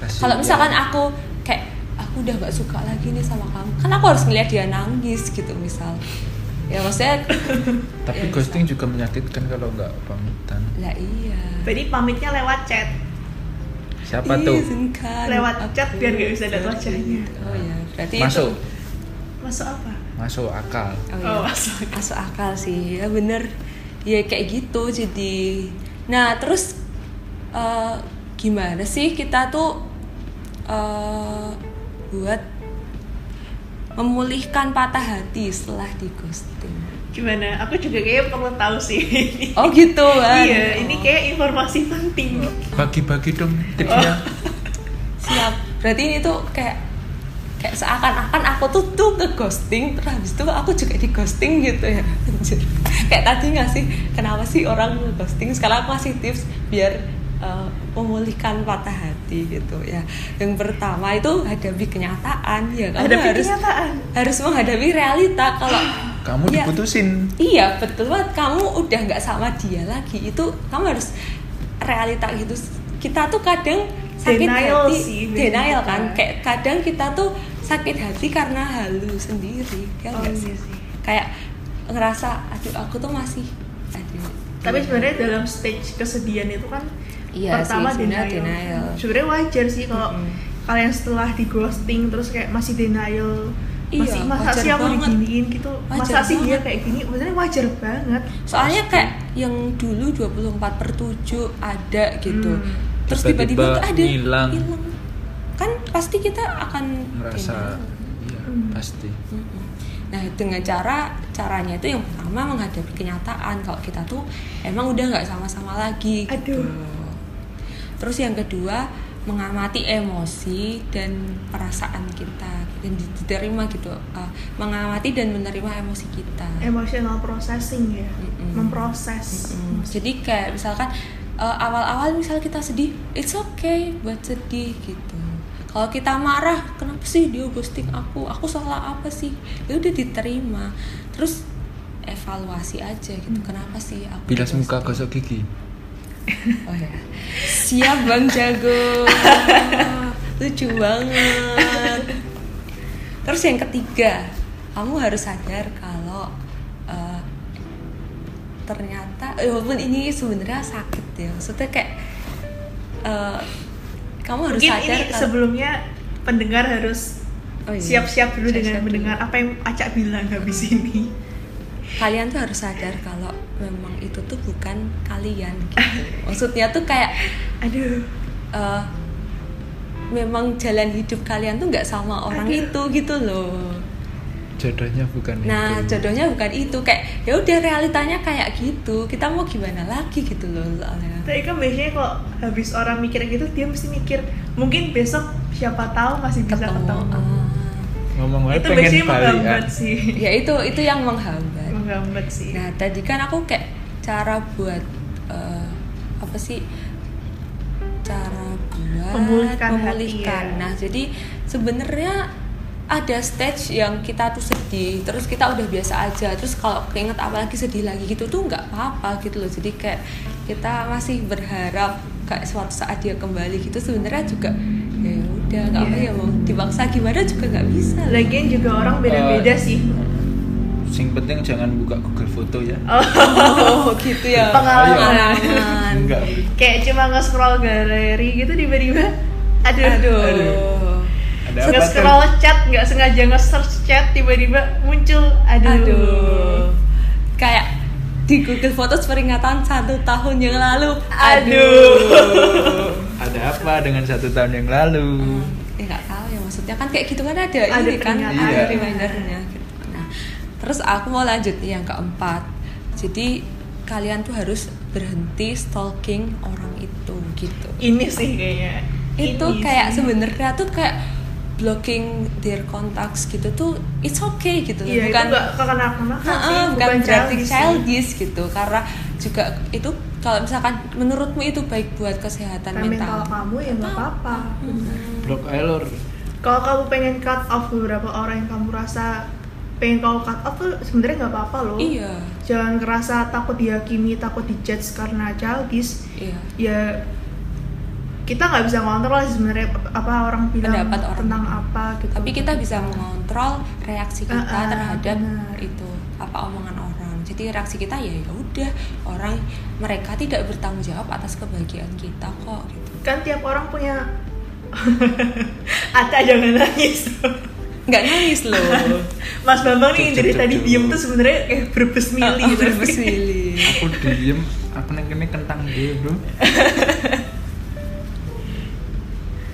Speaker 3: Pasti ya.
Speaker 2: Kalau
Speaker 3: dia-
Speaker 2: misalkan aku kayak aku udah nggak suka lagi nih sama kamu, kan aku harus ngelihat dia nangis gitu misal. Ya maksudnya ya,
Speaker 3: tapi ghosting juga menyakitkan kalau nggak pamitan.
Speaker 2: lah iya.
Speaker 1: jadi pamitnya lewat chat
Speaker 3: Siapa tuh?
Speaker 2: Izinkan
Speaker 1: Lewat
Speaker 2: aku
Speaker 1: chat biar nggak bisa lihat
Speaker 2: pergi.
Speaker 1: wajahnya.
Speaker 2: Oh ya, berarti itu-
Speaker 3: Masuk,
Speaker 1: masuk apa
Speaker 3: masuk akal.
Speaker 2: Oh,
Speaker 1: oh,
Speaker 2: iya.
Speaker 1: masuk
Speaker 2: masuk akal sih ya bener ya kayak gitu jadi nah terus eh, gimana sih kita tuh eh, buat memulihkan patah hati setelah di ghosting
Speaker 1: gimana aku juga kayaknya perlu tahu sih
Speaker 2: oh gitu Wan.
Speaker 1: iya ini
Speaker 2: Oh,
Speaker 1: kayak informasi penting
Speaker 2: Oh.
Speaker 3: Bagi-bagi dong tipsnya.
Speaker 2: siap berarti ini tuh kayak kayak seakan-akan aku tuh tuh ke ghosting terus habis itu aku juga di ghosting gitu ya Anjir. kayak tadi nggak sih kenapa sih orang nge ghosting sekarang aku kasih tips biar eh, memulihkan patah hati gitu ya yang pertama itu hadapi kenyataan ya kamu
Speaker 1: ada
Speaker 2: harus
Speaker 1: kenyataan
Speaker 2: harus menghadapi realita kalau
Speaker 3: Kamu
Speaker 2: Iya.
Speaker 3: diputusin.
Speaker 2: Iya betul banget kamu udah nggak sama dia lagi itu kamu harus realita gitu kita tuh kadang sakit
Speaker 1: Denial
Speaker 2: hati
Speaker 1: sih,
Speaker 2: denial
Speaker 1: bener.
Speaker 2: kan kayak kadang kita tuh sakit hati karena halu sendiri ya
Speaker 1: Oh,
Speaker 2: nggak
Speaker 1: iya
Speaker 2: sih?
Speaker 1: sih.
Speaker 2: kayak ngerasa aduh aku tuh masih aduh
Speaker 1: tapi sebenarnya dalam stage kesedihan itu kan
Speaker 2: Iya
Speaker 1: pertama
Speaker 2: sih, sebenarnya
Speaker 1: denial,
Speaker 2: denial.
Speaker 1: sebenarnya wajar sih kalau
Speaker 2: Mm-mm.
Speaker 1: kalian setelah di ghosting terus kayak masih denial
Speaker 2: Iya,
Speaker 1: masih masa
Speaker 2: wajar
Speaker 1: sih aku
Speaker 2: banget.
Speaker 1: diginiin gitu masa
Speaker 2: Wajar
Speaker 1: sih dia
Speaker 2: banget.
Speaker 1: kayak gini sebenarnya wajar banget
Speaker 2: soalnya kayak yang dulu 24 per 7 ada gitu
Speaker 1: Hmm.
Speaker 2: terus tiba-tiba
Speaker 3: Tiba-tiba
Speaker 2: tuh ada
Speaker 3: hilang.
Speaker 2: hilang. kan pasti kita akan
Speaker 3: Merasa
Speaker 2: denial.
Speaker 3: iya,
Speaker 1: Hmm.
Speaker 3: pasti.
Speaker 2: Mm-mm. Nah dengan cara caranya itu yang pertama menghadapi kenyataan kalau kita tuh emang udah nggak sama-sama lagi gitu.
Speaker 1: Aduh.
Speaker 2: Terus yang kedua mengamati emosi dan perasaan kita dan di- diterima gitu, Eh, mengamati dan menerima emosi kita.
Speaker 1: emotional processing ya
Speaker 2: Mm-mm.
Speaker 1: memproses
Speaker 2: Mm-mm. Jadi kayak misalkan eh, awal-awal misal kita sedih, it's okay buat sedih gitu. Kalau kita marah, kenapa sih dia ghosting aku? Aku salah apa sih? Ya udah diterima. Terus evaluasi aja gitu. Kenapa sih aku?
Speaker 3: Bilas
Speaker 2: ghosting?
Speaker 3: muka gosok gigi.
Speaker 2: Oh ya. Siap Bang Jago. Lucu banget. Terus yang ketiga, kamu harus sadar kalau eh, ternyata eh, walaupun ini sebenarnya sakit ya. Maksudnya kayak eh, kamu harus
Speaker 1: mungkin
Speaker 2: sadar
Speaker 1: ini
Speaker 2: kalau
Speaker 1: sebelumnya pendengar harus
Speaker 2: Oh iya.
Speaker 1: siap-siap dulu dengan
Speaker 2: Siap-siap dulu.
Speaker 1: mendengar apa yang acak bilang habis ini
Speaker 2: kalian tuh harus sadar kalau memang itu tuh bukan kalian gitu. Maksudnya tuh kayak
Speaker 1: aduh
Speaker 2: eh, memang jalan hidup kalian tuh nggak sama orang
Speaker 1: Aduh.
Speaker 2: itu gitu loh.
Speaker 3: Jodohnya bukan
Speaker 2: Nah,
Speaker 3: itu.
Speaker 2: jodohnya bukan itu kayak ya udah realitanya kayak gitu. Kita mau gimana lagi gitu loh soalnya.
Speaker 1: Tapi kan biasanya kalau habis orang mikir gitu dia mesti mikir mungkin besok siapa tahu masih bisa ketemu.
Speaker 2: Ah.
Speaker 3: Ngomong aja
Speaker 1: Itu
Speaker 3: pengen ah.
Speaker 1: biasanya
Speaker 3: balikan.
Speaker 1: menghambat sih.
Speaker 2: Ya itu itu yang
Speaker 1: Hmm.
Speaker 2: menghambat.
Speaker 1: menghambat sih.
Speaker 2: Nah, tadi kan aku kayak cara buat eh, apa sih? Cara buat
Speaker 1: Memulihkan hati,
Speaker 2: memulihkan.
Speaker 1: ya.
Speaker 2: Nah, jadi sebenarnya ada stage yang kita tuh sedih, terus kita udah biasa aja. Terus kalau keinget apalagi sedih lagi gitu tuh nggak apa-apa gitu loh. Jadi kayak kita masih berharap kayak suatu saat dia kembali gitu sebenarnya juga ya udah nggak apa
Speaker 1: Iya.
Speaker 2: ya mau dipaksa gimana juga nggak bisa loh.
Speaker 1: Lagian juga orang beda-beda sih.
Speaker 3: Oh, iya. Sing penting jangan buka Google foto ya.
Speaker 2: oh gitu ya
Speaker 1: Pengalaman.
Speaker 2: Pengalaman.
Speaker 3: Enggak.
Speaker 1: Kayak cuma nge-scroll galeri gitu tiba-tiba aduh.
Speaker 2: Aduh.
Speaker 3: Ada apa tuh?
Speaker 1: Nge-scroll chat nggak sengaja nge-search chat tiba-tiba muncul aduh.
Speaker 2: Aduh. Kayak di Google Photos peringatan satu tahun yang lalu.
Speaker 1: Aduh.
Speaker 3: Ada apa dengan satu tahun yang lalu?
Speaker 2: ya nggak tahu ya maksudnya kan kayak gitu kan ada,
Speaker 1: Ada
Speaker 2: ini kan
Speaker 1: peringatan.
Speaker 2: ada
Speaker 3: Iya.
Speaker 2: remindernya gitu. Nah, terus aku mau lanjut nih yang keempat. Jadi kalian tuh harus berhenti stalking orang itu gitu.
Speaker 1: Ini sih kayaknya.
Speaker 2: itu
Speaker 1: Ini
Speaker 2: kayak
Speaker 1: sih.
Speaker 2: sebenarnya tuh kayak blocking their contacts gitu tuh it's okay gitu loh.
Speaker 1: Iya,
Speaker 2: bukan
Speaker 1: itu nggak kekena-kena sih,
Speaker 2: Heeh, bukan berarti
Speaker 1: childish ya. sih.
Speaker 2: childish gitu karena juga itu kalau misalkan menurutmu itu baik buat kesehatan
Speaker 1: Kan mental
Speaker 2: mental.
Speaker 1: kamu ya nggak apa-apa.
Speaker 2: Hmm.
Speaker 3: Blok Elor.
Speaker 1: Kalau kamu pengen cut off beberapa orang yang kamu rasa pengen kamu cut off tuh sebenarnya nggak apa-apa loh.
Speaker 2: Iya,
Speaker 1: Jangan ngerasa takut dihakimi, takut dijudge karena childish.
Speaker 2: iya.
Speaker 1: Ya kita nggak bisa kontrol sih sebenarnya apa orang bilang
Speaker 2: Pendapat orang.
Speaker 1: tentang apa gitu.
Speaker 2: Tapi kita bisa mengontrol reaksi kita
Speaker 1: Ah, ah,
Speaker 2: terhadap
Speaker 1: benar.
Speaker 2: itu apa omongan orang. Jadi reaksi kita ya ya udah orang mereka tidak bertanggung jawab atas kebahagiaan kita kok gitu.
Speaker 1: kan tiap orang punya Ata jangan nangis.
Speaker 2: Nggak nangis loh.
Speaker 1: Mas Bambang nih
Speaker 3: Cuk,
Speaker 1: dari
Speaker 3: cuk,
Speaker 1: tadi
Speaker 3: cuk.
Speaker 1: diem tuh sebenarnya kayak berbes mili.
Speaker 2: Oh,
Speaker 1: gitu.
Speaker 2: berpesili.
Speaker 3: Aku diem, aku neng kene kentang dia, Bro.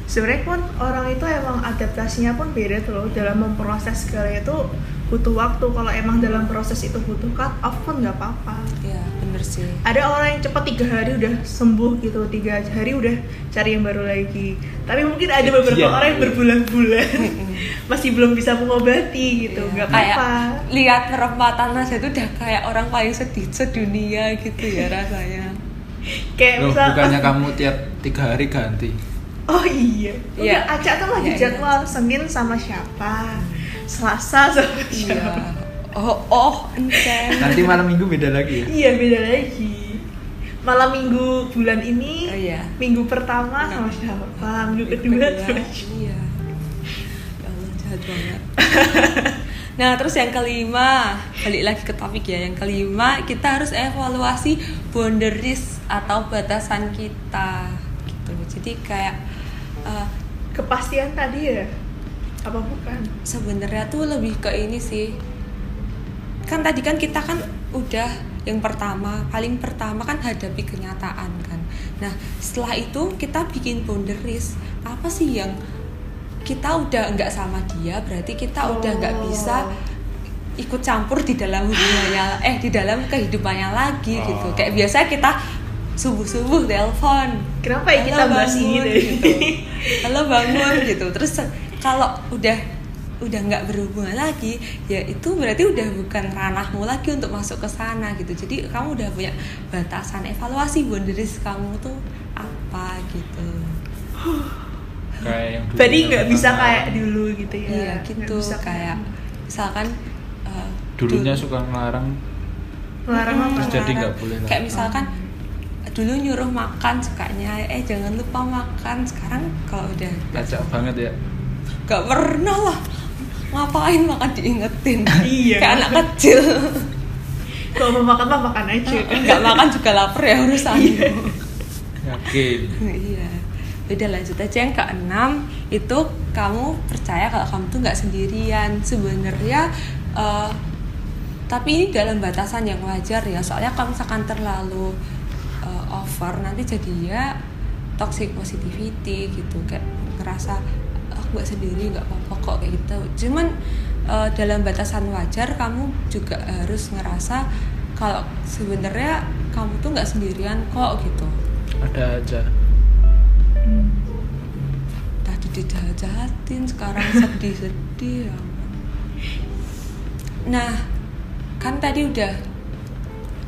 Speaker 1: sebenarnya pun orang itu emang adaptasinya pun beda tuh loh dalam memproses segala itu butuh waktu kalau emang dalam proses itu butuh cut off pun nggak apa-apa
Speaker 2: ya bener sih
Speaker 1: ada orang yang cepat tiga hari udah sembuh gitu tiga hari udah cari yang baru lagi tapi mungkin ada beberapa
Speaker 3: Iya.
Speaker 1: orang yang berbulan-bulan masih belum bisa mengobati
Speaker 2: Iya.
Speaker 1: gitu nggak
Speaker 2: kayak
Speaker 1: apa-apa
Speaker 2: lihat perempatan aja itu udah kayak orang paling sedih sedunia gitu ya rasanya
Speaker 1: kayak
Speaker 3: Loh,
Speaker 1: misal
Speaker 3: bukannya kamu tiap tiga hari ganti
Speaker 1: oh iya
Speaker 2: Iya.
Speaker 1: udah acak tuh lagi
Speaker 2: Iya, iya.
Speaker 1: jadwal senin sama siapa selasa sama
Speaker 2: iya
Speaker 1: siapa
Speaker 2: oh oh enceng
Speaker 3: nanti malam minggu beda lagi ya
Speaker 1: iya beda lagi malam minggu bulan ini
Speaker 2: Oh, iya. Nah.
Speaker 1: minggu pertama sama siapa minggu kedua sama siapa
Speaker 2: iya ya Allah jahat banget nah terus yang kelima balik lagi ke topik ya yang kelima kita harus evaluasi boundaries atau batasan kita gitu jadi kayak eh,
Speaker 1: kepastian tadi ya apa bukan
Speaker 2: sebenarnya tuh lebih ke ini sih kan tadi kan kita kan udah yang pertama paling pertama kan hadapi kenyataan kan nah setelah itu kita bikin boundaries apa sih yang kita udah nggak sama dia berarti kita udah nggak
Speaker 1: Oh.
Speaker 2: bisa ikut campur di dalam hubungannya eh di dalam kehidupannya lagi gitu
Speaker 3: Oh.
Speaker 2: kayak biasa kita subuh subuh telepon
Speaker 1: Kenapa ya kita bahas ini deh?
Speaker 2: gitu. Halo bangun gitu. Terus kalau udah udah nggak berhubungan lagi, ya itu berarti udah bukan ranahmu lagi untuk masuk ke sana gitu. Jadi kamu udah punya batasan evaluasi boundaries kamu tuh apa gitu.
Speaker 3: kayak yang dulu
Speaker 1: Berarti
Speaker 3: yang
Speaker 1: nggak bisa
Speaker 3: pertama.
Speaker 1: kayak dulu gitu ya?
Speaker 2: Iya
Speaker 1: Nggak
Speaker 2: gitu
Speaker 1: bisa
Speaker 2: kayak misalkan eh,
Speaker 3: dulunya
Speaker 2: dulu-
Speaker 3: suka ngelarang
Speaker 1: melarang
Speaker 2: Mm-mm,
Speaker 1: apa?
Speaker 3: Terus jadi nggak
Speaker 2: melarang.
Speaker 3: boleh lah.
Speaker 2: Kayak misalkan dulu nyuruh makan sukanya eh jangan lupa makan sekarang kalau udah
Speaker 3: acak banget ya
Speaker 2: gak pernah lah ngapain makan diingetin
Speaker 1: Iya.
Speaker 2: kayak anak kecil
Speaker 1: Kalau mau makan mah makan aja.
Speaker 2: nggak makan juga lapar ya urusanmu
Speaker 3: yakin
Speaker 2: iya beda lanjut aja yang keenam itu kamu percaya kalau kamu tuh nggak sendirian sebenarnya eh, tapi ini dalam batasan yang wajar ya soalnya kalau misalkan terlalu eh, over nanti jadinya toxic positivity gitu kayak ngerasa "Ah, aku nggak sendiri nggak apa-apa kok kayak gitu cuman eh, dalam batasan wajar kamu juga harus ngerasa kalau sebenarnya kamu tuh nggak sendirian kok gitu
Speaker 3: ada aja
Speaker 1: Hmm.
Speaker 2: tadi dijahat-jahatin sekarang sedih-sedih ya ampun. nah kan tadi udah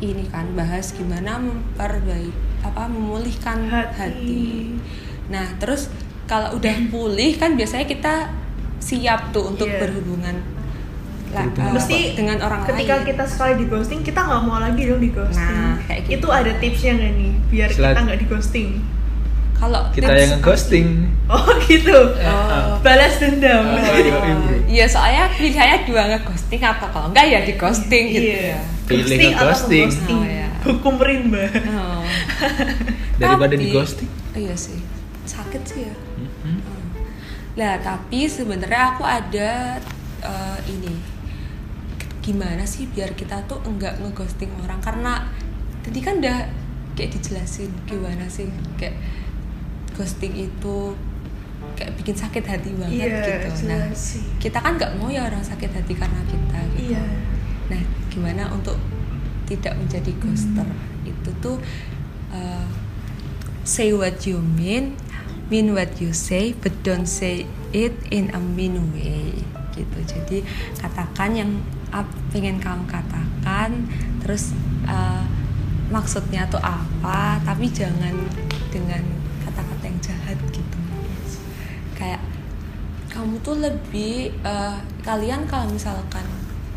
Speaker 2: ini kan bahas gimana memperbaik apa memulihkan hati,
Speaker 1: Hati.
Speaker 2: nah terus kalau udah pulih kan biasanya kita siap tuh untuk
Speaker 1: Iya.
Speaker 2: berhubungan la-
Speaker 3: Berhubungan
Speaker 2: eh,
Speaker 1: Mesti
Speaker 2: dengan orang
Speaker 1: ketika
Speaker 2: lain
Speaker 1: kita sekali di ghosting kita nggak mau lagi dong di ghosting.
Speaker 2: Nah, kayak gitu.
Speaker 1: Itu ada tipsnya nggak nih biar
Speaker 3: Selat-
Speaker 1: kita nggak di ghosting?
Speaker 2: kalau
Speaker 3: kita
Speaker 2: tips-
Speaker 3: yang ngeghosting
Speaker 1: Oh gitu.
Speaker 2: Oh.
Speaker 1: Balas dendam.
Speaker 2: Oh,
Speaker 3: Oh, iya, iya, bro.
Speaker 2: Iya soalnya pilihannya dua ngeghosting atau kalau enggak ya di ghosting gitu
Speaker 1: Iya.
Speaker 2: ya.
Speaker 3: Pilih
Speaker 1: Ghosting atau
Speaker 3: ngeghosting.
Speaker 1: ngeghosting.
Speaker 2: Oh, iya.
Speaker 1: Hukum rimba.
Speaker 2: Oh.
Speaker 3: daripada
Speaker 2: Tapi-
Speaker 3: di ghosting
Speaker 2: Iya sih. Sakit sih ya.
Speaker 3: Mm-hmm.
Speaker 2: Nah, tapi sebenarnya aku ada eh, ini. Gimana sih biar kita tuh enggak ngeghosting orang karena tadi kan udah kayak dijelasin gimana sih kayak ghosting itu kayak bikin sakit hati
Speaker 1: Iya,
Speaker 2: banget gitu. Nah,
Speaker 1: jelas sih.
Speaker 2: kita kan nggak mau ya orang sakit hati karena kita gitu.
Speaker 1: Iya.
Speaker 2: Nah, gimana untuk tidak menjadi ghoster? Itu tuh uh, say what you mean, mean what you say, but don't say it in a mean way. Gitu. Jadi katakan yang ap- pengen kamu katakan, terus uh, maksudnya tuh apa, tapi jangan dengan kata-kata yang jahat gitu. Kayak kamu tuh lebih eh, kalian kalau misalkan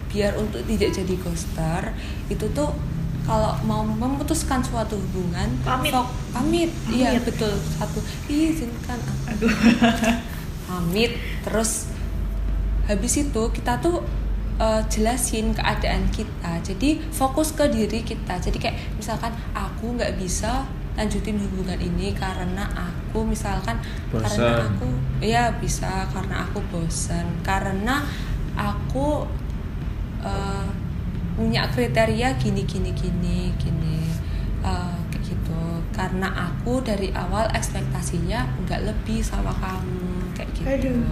Speaker 2: biar untuk tidak jadi ghoster itu tuh kalau mau memutuskan suatu hubungan
Speaker 1: Pamit.
Speaker 2: fok- pamit iya
Speaker 1: Pamit.
Speaker 2: betul satu izinkan aku pamit terus habis itu kita tuh eh, jelasin keadaan kita jadi fokus ke diri kita jadi kayak misalkan aku nggak bisa lanjutin hubungan ini karena aku misalkan karena
Speaker 3: Bosan.
Speaker 2: aku ya bisa karena aku bosan karena aku eh, punya kriteria gini gini gini gini eh, kayak gitu karena aku dari awal ekspektasinya nggak lebih sama kamu kayak gitu
Speaker 1: Aduh.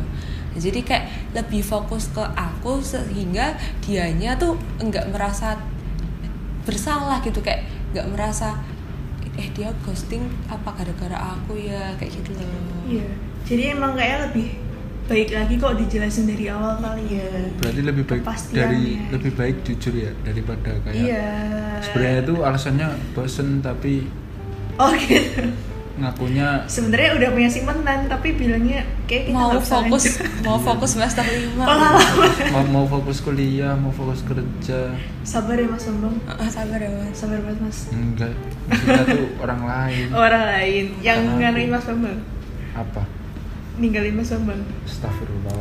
Speaker 2: Nah, jadi kayak lebih fokus ke aku sehingga dianya tuh nggak merasa bersalah gitu kayak nggak merasa eh dia ghosting apa gara-gara aku ya kayak gitu loh
Speaker 1: Iya. Jadi emang kayaknya lebih baik lagi kok dijelasin dari awal kali ya.
Speaker 3: berarti lebih baik
Speaker 1: Kepastiannya.
Speaker 3: dari lebih baik jujur ya daripada kayak
Speaker 1: Iya.
Speaker 3: sebenarnya itu alasannya bosen tapi
Speaker 1: Oh gitu.
Speaker 3: ngakunya
Speaker 1: Sebenarnya udah punya simpenan tapi bilangnya kayak kita
Speaker 2: mau
Speaker 1: nggak bisa lanjut.
Speaker 2: fokus mau fokus semester lima
Speaker 1: Pengalaman.
Speaker 3: mau, mau fokus kuliah mau fokus kerja
Speaker 1: Sabar ya Mas Bambang.
Speaker 2: Ah, sabar ya mas
Speaker 1: Sabar banget Mas.
Speaker 3: enggak kita tuh orang lain
Speaker 1: Orang lain yang
Speaker 3: Karena aku-
Speaker 1: nganuin Mas Bambang.
Speaker 3: apa
Speaker 1: Ninggalin Mas Bambang.
Speaker 3: Astagfirullah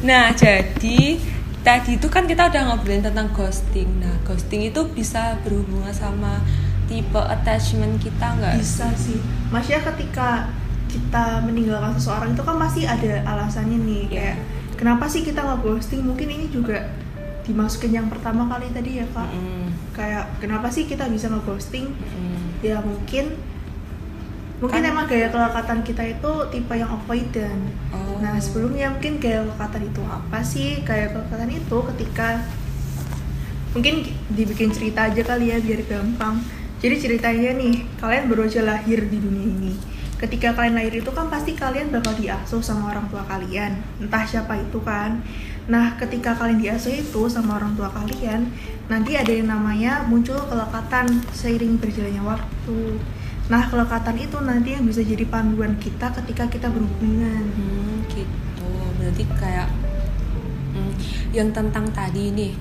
Speaker 2: Nah, jadi tadi itu kan kita udah ngobrolin tentang ghosting. Nah, ghosting itu bisa berhubungan sama tipe attachment kita nggak?
Speaker 1: bisa sih maksudnya ketika kita meninggalkan seseorang itu kan masih ada alasannya nih kayak kenapa sih kita nggak ghosting mungkin ini juga dimasukin yang pertama kali tadi ya kak
Speaker 2: Mm,
Speaker 1: kayak kenapa sih kita bisa nggak ghosting
Speaker 2: mm.
Speaker 1: ya mungkin mungkin
Speaker 2: Kan-
Speaker 1: emang gaya kelekatan kita itu tipe yang avoidant
Speaker 2: Oh.
Speaker 1: Nah sebelumnya mungkin gaya kelekatan itu apa sih? Gaya kelekatan itu ketika mungkin dibikin cerita aja kali ya biar gampang. Jadi ceritanya nih kalian baru aja lahir di dunia ini. Ketika kalian lahir itu kan pasti kalian bakal diasuh sama orang tua kalian, entah siapa itu kan. Nah ketika kalian diasuh itu sama orang tua kalian, nanti ada yang namanya muncul kelekatan seiring berjalannya waktu. Nah kelekatan itu nanti yang bisa jadi panduan kita ketika kita berhubungan.
Speaker 2: Hmm, gitu. Berarti kayak mm, yang tentang tadi nih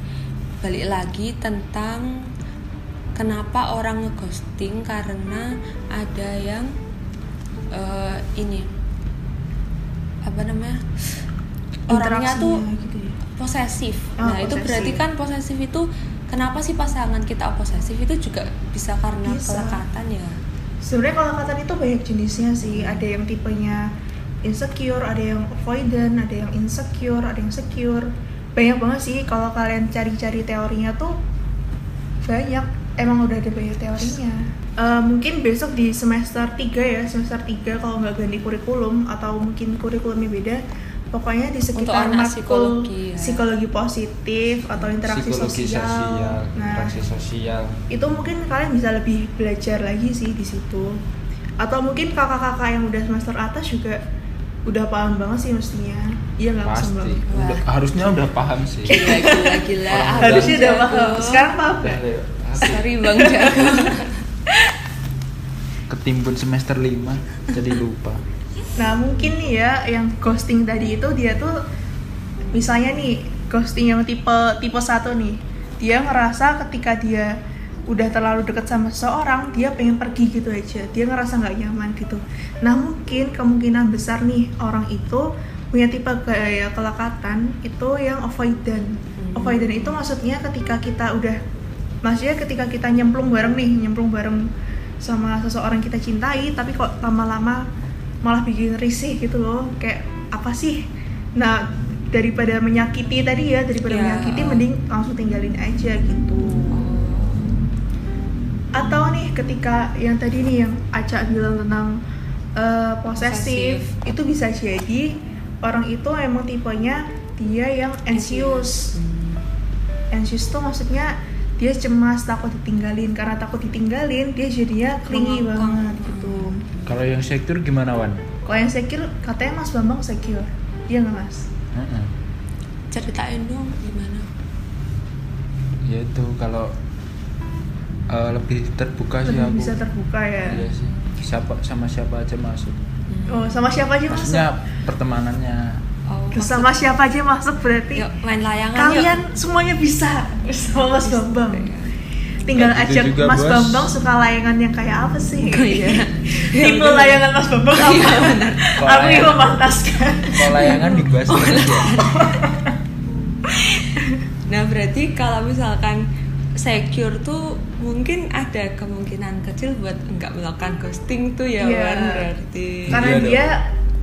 Speaker 2: balik lagi tentang kenapa orang ngeghosting karena ada yang eh, ini apa namanya orangnya
Speaker 1: Interaksinya
Speaker 2: tuh
Speaker 1: gitu ya.
Speaker 2: posesif.
Speaker 1: Oh,
Speaker 2: nah, itu
Speaker 1: posesif.
Speaker 2: berarti kan posesif itu kenapa sih pasangan kita posesif itu juga bisa karena
Speaker 1: Bisa.
Speaker 2: kelekatan ya.
Speaker 1: sebenarnya kalau kata itu banyak jenisnya sih ada yang tipenya insecure ada yang avoidant ada yang insecure ada yang secure banyak banget sih kalau kalian cari-cari teorinya tuh banyak emang udah ada banyak teorinya Eh, mungkin besok di semester 3 ya semester 3 kalau nggak ganti kurikulum atau mungkin kurikulumnya beda pokoknya di sekitar
Speaker 2: anak
Speaker 1: matkul
Speaker 2: psikologi ya.
Speaker 1: psikologi positif atau interaksi
Speaker 3: psikologi
Speaker 1: sosial,
Speaker 3: sosial
Speaker 1: Nah,
Speaker 3: interaksi sosial
Speaker 1: itu mungkin kalian bisa lebih belajar lagi sih di situ atau mungkin kakak-kakak yang udah semester atas juga udah paham banget sih mestinya iya nggak Mas
Speaker 3: pasti
Speaker 1: Bambang?
Speaker 2: Wah.
Speaker 3: udah, harusnya udah paham sih
Speaker 1: Iya.
Speaker 2: Gila gila gila.
Speaker 3: Orang
Speaker 2: Abang
Speaker 1: harusnya udah
Speaker 2: jago.
Speaker 1: paham sekarang paham nggak?
Speaker 3: Udah, aku
Speaker 2: Sorry Bang Jago.
Speaker 3: ketimbun semester 5 jadi lupa
Speaker 1: nah mungkin nih ya yang ghosting tadi itu dia tuh misalnya nih ghosting yang tipe tipe satu nih dia ngerasa ketika dia udah terlalu dekat sama seseorang dia pengen pergi gitu aja dia ngerasa nggak nyaman gitu nah mungkin kemungkinan besar nih orang itu punya tipe gaya kelekatan itu yang avoidant avoidant itu maksudnya ketika kita udah maksudnya ketika kita nyemplung bareng nih nyemplung bareng sama seseorang kita cintai tapi kok lama-lama malah bikin risih gitu loh kayak apa sih nah daripada menyakiti tadi ya daripada
Speaker 2: Ya.
Speaker 1: menyakiti mending langsung tinggalin aja gitu atau nih ketika yang tadi nih yang Aca bilang tentang eh, posesif itu bisa jadi orang itu emang tipenya dia yang anxious
Speaker 2: Hmm.
Speaker 1: anxious tuh maksudnya dia cemas takut ditinggalin karena takut ditinggalin dia jadinya clingy
Speaker 2: Mengekang.
Speaker 1: banget gitu
Speaker 2: Hmm.
Speaker 3: kalau yang sektor gimana Wan?
Speaker 1: kalau yang secure katanya Mas Bambang secure iya nggak Mas
Speaker 3: Heeh.
Speaker 2: Ceritain dong gimana.
Speaker 3: ya itu kalau eh, lebih terbuka sih
Speaker 1: lebih
Speaker 3: aku
Speaker 1: bisa terbuka ya
Speaker 3: Iya sih. siapa sama siapa aja masuk
Speaker 2: Hmm.
Speaker 1: oh sama siapa aja masuk
Speaker 3: maksudnya pertemanannya
Speaker 2: Oh,
Speaker 1: Terus sama siapa aja masuk
Speaker 2: maksud-
Speaker 1: berarti
Speaker 2: Yuk main layangan
Speaker 1: kalian
Speaker 2: yuk.
Speaker 1: semuanya bisa sama Mas Bambang
Speaker 2: Iya,
Speaker 1: tinggal
Speaker 3: Kayak gitu
Speaker 1: ajak
Speaker 3: juga,
Speaker 1: Mas
Speaker 3: Bos.
Speaker 1: Bambang suka layangan yang kayak apa sih
Speaker 2: Oh, iya.
Speaker 1: tipe layangan Mas Bambang
Speaker 2: Iya,
Speaker 1: apa
Speaker 2: benar.
Speaker 1: aku
Speaker 3: Kalau
Speaker 1: yang
Speaker 3: layangan-
Speaker 1: memantaskan
Speaker 3: kalau layangan dibahas
Speaker 1: Oh,
Speaker 3: terus
Speaker 1: iya.
Speaker 3: ya
Speaker 2: Nah berarti kalau misalkan secure tuh mungkin ada kemungkinan kecil buat nggak melakukan ghosting tuh ya
Speaker 1: Iya.
Speaker 2: Wan berarti.
Speaker 1: karena
Speaker 3: Iya dong.
Speaker 1: dia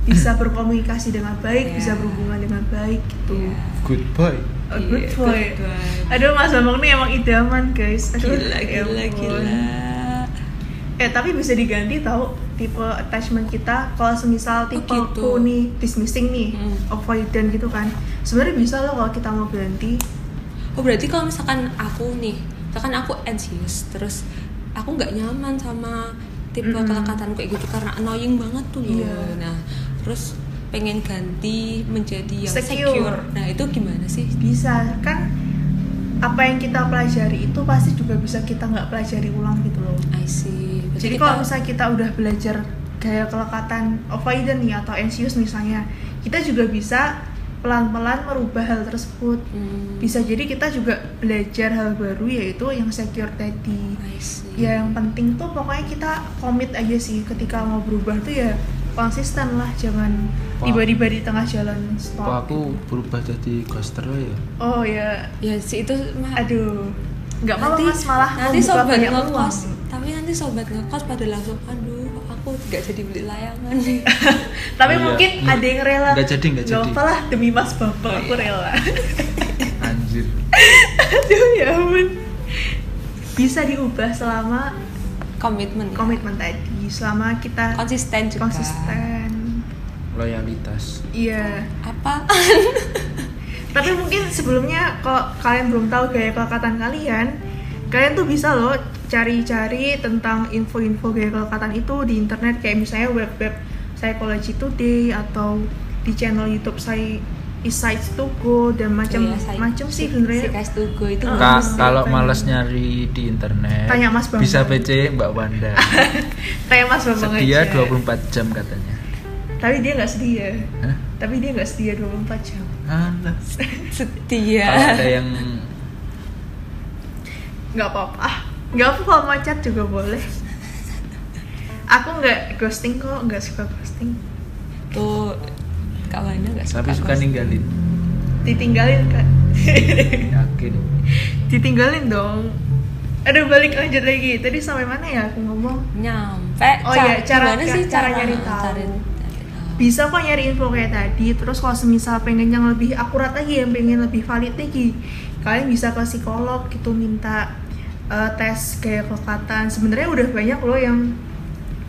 Speaker 1: bisa berkomunikasi dengan baik,
Speaker 2: Iya.
Speaker 1: bisa berhubungan dengan baik gitu.
Speaker 2: Iya.
Speaker 3: goodbye
Speaker 1: A good
Speaker 2: Iya,
Speaker 1: boy.
Speaker 2: good boy.
Speaker 1: Aduh Mas Bambang nih emang idaman guys. Aduh,
Speaker 2: Gila
Speaker 1: ya
Speaker 2: gila
Speaker 1: ampun.
Speaker 2: gila.
Speaker 1: eh tapi bisa diganti tahu tipe attachment kita kalau semisal tipe
Speaker 2: gitu.
Speaker 1: ku nih dismissing nih
Speaker 2: Hmm.
Speaker 1: avoidant gitu kan sebenarnya bisa loh kalau kita mau ganti
Speaker 2: Oh berarti kalau misalkan aku nih, misalkan aku anxious, terus aku nggak nyaman sama tipe
Speaker 1: Mm-mm.
Speaker 2: kelekatanku kayak gitu karena annoying banget tuh loh.
Speaker 1: Iya.
Speaker 2: Nah, terus pengen ganti menjadi yang secure.
Speaker 1: Secure.
Speaker 2: Nah itu gimana sih?
Speaker 1: bisa kan apa yang kita pelajari itu pasti juga bisa kita nggak pelajari ulang gitu loh
Speaker 2: I see. Berarti
Speaker 1: Jadi
Speaker 2: kita-
Speaker 1: kalau misalnya kita udah belajar gaya kelekatan avoidant nih atau anxious misalnya, kita juga bisa pelan-pelan merubah hal tersebut.
Speaker 2: Hmm,
Speaker 1: Bisa jadi kita juga belajar hal baru yaitu yang secure tadi.
Speaker 2: I see.
Speaker 1: Ya yang penting tuh pokoknya kita komit aja sih ketika mau berubah tuh ya konsisten lah jangan
Speaker 3: Wah.
Speaker 1: tiba-tiba di tengah jalan
Speaker 3: Kok
Speaker 1: stop.
Speaker 3: aku berubah jadi ghoster lo ya?
Speaker 1: Oh ya,
Speaker 2: Ya sih itu mah
Speaker 1: aduh. nggak apa-apa mas malah
Speaker 2: nanti
Speaker 1: membuka
Speaker 2: sobat
Speaker 1: banyak
Speaker 2: ngekos
Speaker 1: peluang.
Speaker 2: tapi nanti sobat ngekos pada langsung aduh aku nggak jadi beli layangan nih
Speaker 1: Tapi
Speaker 3: Iya.
Speaker 1: mungkin
Speaker 3: Nggak-
Speaker 1: ada yang rela.
Speaker 3: nggak jadi, Oh iya. nggak
Speaker 1: Nggak
Speaker 3: jadi.
Speaker 1: apalah demi mas bapak aku rela.
Speaker 3: Anjir.
Speaker 1: Aduh ya ampun. Bisa diubah selama
Speaker 2: komitmen ya.
Speaker 1: komitmen tadi, selama kita
Speaker 2: konsisten juga
Speaker 1: konsisten.
Speaker 3: Loyalitas.
Speaker 1: Iya.
Speaker 2: apa
Speaker 1: Tapi mungkin sebelumnya kalau kalian belum tahu gaya kelekatan kalian, kalian tuh bisa loh cari-cari tentang info-info gaya kelekatan itu di internet kayak misalnya web-web Psychology Today atau di channel YouTube saya Insights to Go dan macam
Speaker 2: Iya, saya-
Speaker 1: macam sih
Speaker 2: si- si
Speaker 1: sebenarnya.
Speaker 2: guys tugu itu
Speaker 1: Oh,
Speaker 3: Kak,
Speaker 1: mesti
Speaker 3: kalau
Speaker 1: tanya.
Speaker 3: males nyari di internet,
Speaker 1: Tanya Mas Bambang.
Speaker 3: bisa PC Mbak Wanda.
Speaker 1: Kayak Mas Bambang
Speaker 3: Setia
Speaker 1: aja.
Speaker 3: 24 jam katanya.
Speaker 1: Tapi dia nggak setia.
Speaker 3: Hah?
Speaker 1: Tapi dia nggak setia 24 jam.
Speaker 3: Alah.
Speaker 2: setia
Speaker 3: Kalau ada yang
Speaker 1: nggak apa-apa Ah, nggak apa kalau mau chat juga boleh aku nggak ghosting kok nggak suka ghosting
Speaker 2: tuh kak Wanda nggak suka
Speaker 3: tapi suka
Speaker 2: ghost.
Speaker 3: ninggalin,
Speaker 1: ditinggalin kan
Speaker 3: yakin.
Speaker 1: ditinggalin dong aduh balik lanjut lagi tadi sampai mana ya aku ngomong
Speaker 2: nyampe
Speaker 1: Oh
Speaker 2: cara,
Speaker 1: iya, cara-
Speaker 2: gimana sih
Speaker 1: cara nyari tahu.
Speaker 2: cari cari tahu.
Speaker 1: bisa kok nyari info kayak tadi terus kalau semisal pengen yang lebih akurat lagi yang pengen lebih valid lagi kalian bisa ke psikolog gitu minta eh, tes kayak kelekatan sebenarnya udah banyak loh yang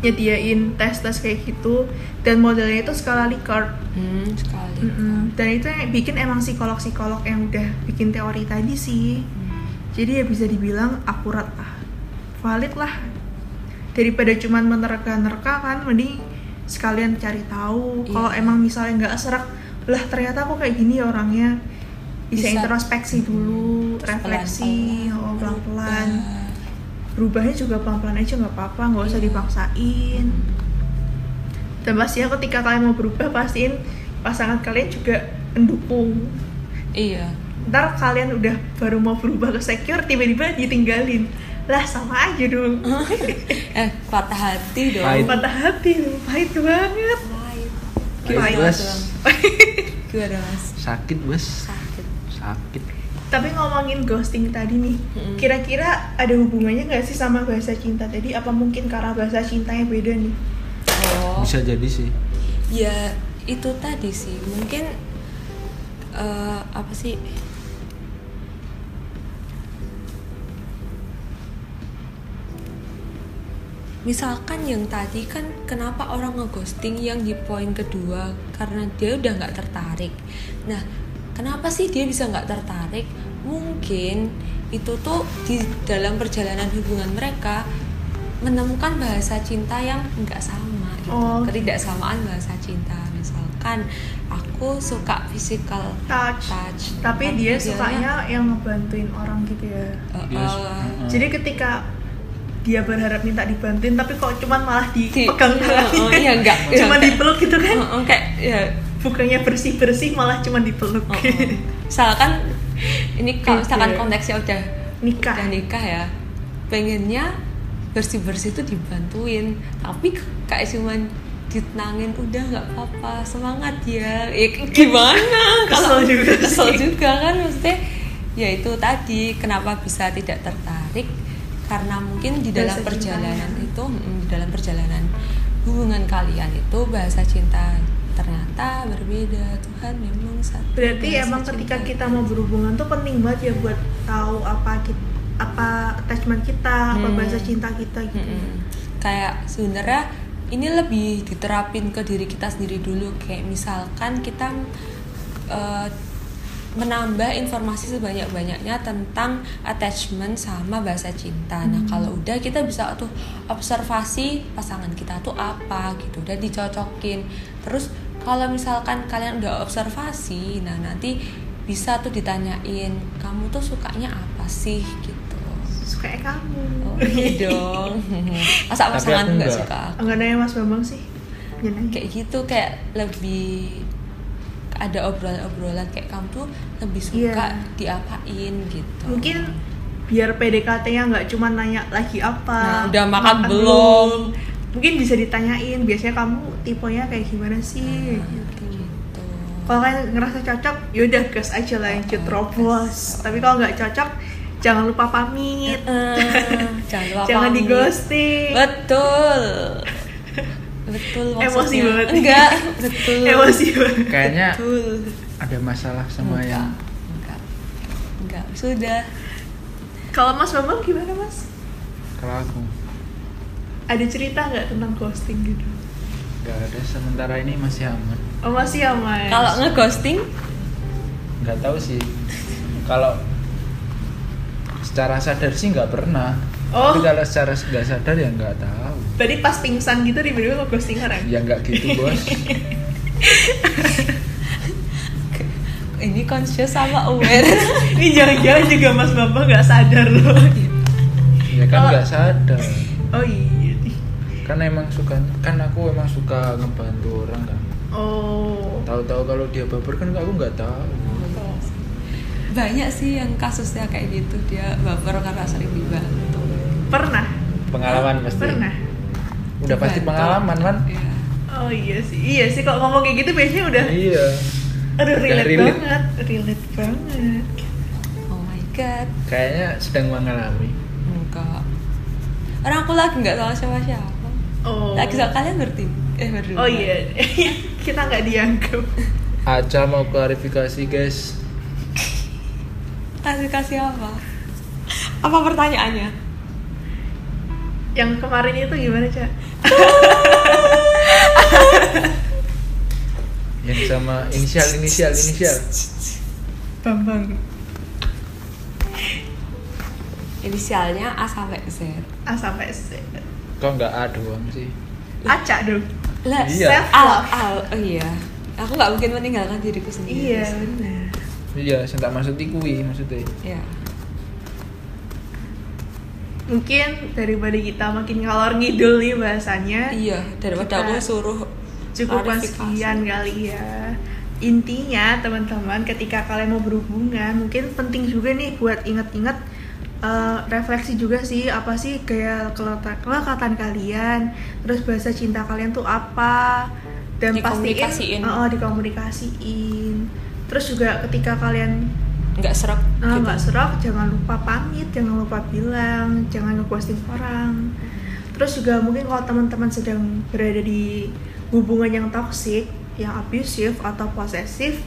Speaker 1: nyediain tes tes kayak gitu dan modelnya itu skala Likert
Speaker 2: hmm, sekali
Speaker 1: Mm-mm. dan itu yang bikin emang psikolog psikolog yang udah bikin teori tadi sih
Speaker 2: Hmm.
Speaker 1: jadi ya bisa dibilang akurat lah valid lah daripada cuman menerka-nerka kan mending sekalian cari tahu
Speaker 2: Iya.
Speaker 1: kalau emang misalnya nggak serak lah ternyata aku kayak gini ya orangnya bisa,
Speaker 2: Bisa.
Speaker 1: introspeksi dulu
Speaker 2: Terus
Speaker 1: refleksi
Speaker 2: pelan-pelan Iya.
Speaker 1: oh, pelan-pelan
Speaker 2: berubah.
Speaker 1: berubahnya juga pelan-pelan aja nggak apa-apa nggak usah
Speaker 2: Iya.
Speaker 1: dipaksain dan pasti ya ketika kalian mau berubah pastiin pasangan kalian juga mendukung
Speaker 2: iya
Speaker 1: ntar kalian udah baru mau berubah ke secure tiba-tiba ditinggalin lah sama aja dulu
Speaker 2: eh patah hati dong
Speaker 3: Pahit.
Speaker 1: patah hati lu, pahit banget
Speaker 2: Pahit.
Speaker 1: Pahit,
Speaker 2: Gimana
Speaker 3: Wes.
Speaker 2: dong? gimana mas
Speaker 3: Sakit bos,
Speaker 2: sakit
Speaker 3: sakit.
Speaker 1: tapi ngomongin ghosting tadi nih
Speaker 2: Mm-mm.
Speaker 1: kira-kira ada hubungannya nggak sih sama bahasa cinta tadi apa mungkin karena bahasa cintanya beda nih
Speaker 2: oh
Speaker 3: Bisa jadi sih.
Speaker 2: ya itu tadi sih mungkin eh, apa sih misalkan yang tadi kan kenapa orang ngeghosting yang di poin kedua karena dia udah nggak tertarik nah kenapa sih dia bisa nggak tertarik mungkin itu tuh di dalam perjalanan hubungan mereka menemukan bahasa cinta yang nggak sama gitu.
Speaker 1: Oh.
Speaker 2: ketidaksamaan bahasa cinta misalkan aku suka physical uh,
Speaker 1: touch,
Speaker 2: touch
Speaker 1: tapi dia
Speaker 2: dianya-
Speaker 1: sukanya yang ngebantuin orang gitu ya
Speaker 2: Eh,
Speaker 3: Dia su-
Speaker 2: eh,
Speaker 3: Heeh.
Speaker 1: jadi ketika dia berharap minta dibantuin tapi kok cuman malah
Speaker 2: di-
Speaker 1: dipegang tangannya
Speaker 2: Oh, iya enggak
Speaker 1: cuma dipeluk gitu kan
Speaker 2: Heeh, kayak ya
Speaker 1: bukannya bersih bersih malah cuman dipeluk
Speaker 2: Oh, oh. misalkan ini kalau misalkan
Speaker 1: Oke.
Speaker 2: konteksnya udah
Speaker 1: nikah
Speaker 2: udah nikah ya pengennya bersih bersih itu dibantuin tapi k- kayak cuman ditenangin udah nggak apa-apa semangat ya ya k- gimana
Speaker 1: Kesel juga sih.
Speaker 2: kesel juga kan maksudnya ya itu tadi kenapa bisa tidak tertarik karena mungkin di dalam
Speaker 1: Bahasa
Speaker 2: perjalanan
Speaker 1: cintanya.
Speaker 2: itu mm, di dalam perjalanan hubungan kalian itu bahasa cinta ternyata berbeda Tuhan memang satu
Speaker 1: Berarti
Speaker 2: bahasa
Speaker 1: emang
Speaker 2: cinta.
Speaker 1: ketika kita mau berhubungan tuh penting banget ya buat tahu apa kita, apa attachment kita, apa
Speaker 2: Hmm.
Speaker 1: bahasa cinta kita gitu.
Speaker 2: Mm-mm. kayak sebenarnya ini lebih diterapin ke diri kita sendiri dulu kayak misalkan kita eh, menambah informasi sebanyak-banyaknya tentang attachment sama bahasa cinta. Nah, kalau udah kita bisa tuh observasi pasangan kita tuh apa gitu dan dicocokin. Terus kalau misalkan kalian udah observasi, nah nanti bisa tuh ditanyain, kamu tuh sukanya apa sih gitu.
Speaker 1: suka kamu
Speaker 2: Oh, iya dong. Masa
Speaker 3: Tapi
Speaker 2: pasangan
Speaker 3: aku
Speaker 2: nggak
Speaker 3: nggak.
Speaker 2: suka aku?
Speaker 1: enggak nanya mas bambang sih Nggak nanya.
Speaker 2: kayak gitu kayak lebih ada obrolan-obrolan kayak kamu tuh lebih suka
Speaker 1: Iya.
Speaker 2: diapain gitu
Speaker 1: mungkin biar PDKT-nya nggak cuma nanya lagi apa
Speaker 2: Nah, udah makan belum.
Speaker 1: mungkin bisa ditanyain biasanya kamu tipenya kayak gimana sih
Speaker 2: Nah, gitu
Speaker 1: kalau kalian ngerasa cocok yaudah gas aja lanjut
Speaker 2: Oh,
Speaker 1: terobos
Speaker 2: gas.
Speaker 1: tapi kalau nggak cocok jangan lupa pamit
Speaker 2: Eh, jangan lupa
Speaker 1: Iya. jangan di
Speaker 2: pamit.
Speaker 1: ghosting
Speaker 2: betul betul
Speaker 1: Emosi
Speaker 2: maksudnya.
Speaker 1: banget.
Speaker 2: enggak betul
Speaker 1: emosi banget
Speaker 3: Kayaknya
Speaker 2: betul
Speaker 3: ada masalah Ya. sama
Speaker 2: enggak.
Speaker 3: yang
Speaker 2: enggak enggak sudah
Speaker 1: kalau mas bambang gimana mas
Speaker 3: kalau aku
Speaker 1: ada cerita nggak tentang ghosting gitu
Speaker 3: nggak ada sementara ini masih aman.
Speaker 1: oh masih ya mas
Speaker 2: kalau ngeghosting
Speaker 3: Nggak tahu sih. Kalau secara sadar sih nggak pernah.
Speaker 1: Oh.
Speaker 3: Tapi kalau secara nggak sadar ya nggak tahu.
Speaker 1: tadi pas pingsan gitu tiba-tiba ghosting orang
Speaker 3: Ya nggak gitu bos.
Speaker 2: ini conscious sama aware
Speaker 1: Ini jangan-jangan juga Mas Bambang nggak sadar loh.
Speaker 3: Oh, iya. ya kan
Speaker 1: Kalau-
Speaker 3: nggak sadar.
Speaker 1: Oh iya.
Speaker 3: Kan emang suka kan aku emang suka ngebantu orang kan.
Speaker 1: Oh.
Speaker 3: Tahu-tahu kalau dia baper kan aku nggak tahu.
Speaker 2: banyak sih yang kasusnya kayak gitu dia baper karena sering dibantu
Speaker 1: Pernah?
Speaker 3: Pengalaman pasti.
Speaker 1: Ah, Pernah.
Speaker 3: Udah pasti
Speaker 2: Dibantu.
Speaker 3: pengalaman kan.
Speaker 2: Iya.
Speaker 1: Oh iya sih. Iya sih kalau ngomong kayak gitu biasanya udah
Speaker 3: Iya.
Speaker 1: aduh
Speaker 3: Udah
Speaker 1: relate,
Speaker 3: relate.
Speaker 1: banget, relate banget.
Speaker 2: oh my god
Speaker 3: Kayaknya sedang mengalami.
Speaker 2: enggak orang aku lagi nggak tahu siapa siapa
Speaker 1: Oh.
Speaker 2: lagi soal kalian ngerti eh berdua
Speaker 1: Oh iya. Kita nggak dianggap.
Speaker 3: Aca mau klarifikasi guys.
Speaker 2: kasih kasih apa apa pertanyaannya
Speaker 1: Yang kemarin itu gimana, Cak?
Speaker 3: Yang sama inisial inisial inisial.
Speaker 1: Bambang.
Speaker 2: inisialnya A sampai Z
Speaker 1: A Ah, sampai Z.
Speaker 3: Kok nggak A doang sih?
Speaker 1: Acak dong.
Speaker 2: lah
Speaker 3: Iya.
Speaker 2: self love oh iya aku nggak mungkin meninggalkan diriku sendiri
Speaker 1: Iya, benar.
Speaker 3: Iya, saya tak maksud ikui maksudnya.
Speaker 2: ya
Speaker 1: Mungkin daripada kita makin ngalor ngidul nih bahasannya.
Speaker 2: iya
Speaker 1: Kita-
Speaker 2: daripada aku suruh
Speaker 1: cukupan
Speaker 2: klarifikasi.
Speaker 1: sekian kali ya intinya teman-teman ketika kalian mau berhubungan mungkin penting juga nih buat inget-inget eh, refleksi juga sih apa sih gaya kelata- kelekatan kalian terus bahasa cinta kalian tuh apa dan pastiin
Speaker 2: Dikomunikasiin.
Speaker 1: oh, dikomunikasiin terus juga ketika kalian
Speaker 2: nggak serak
Speaker 1: ah,
Speaker 2: gitu.
Speaker 1: nggak serok jangan lupa pamit jangan lupa bilang jangan ngeghosting orang terus juga mungkin kalau teman-teman sedang berada di hubungan yang toksik yang abusive atau posesif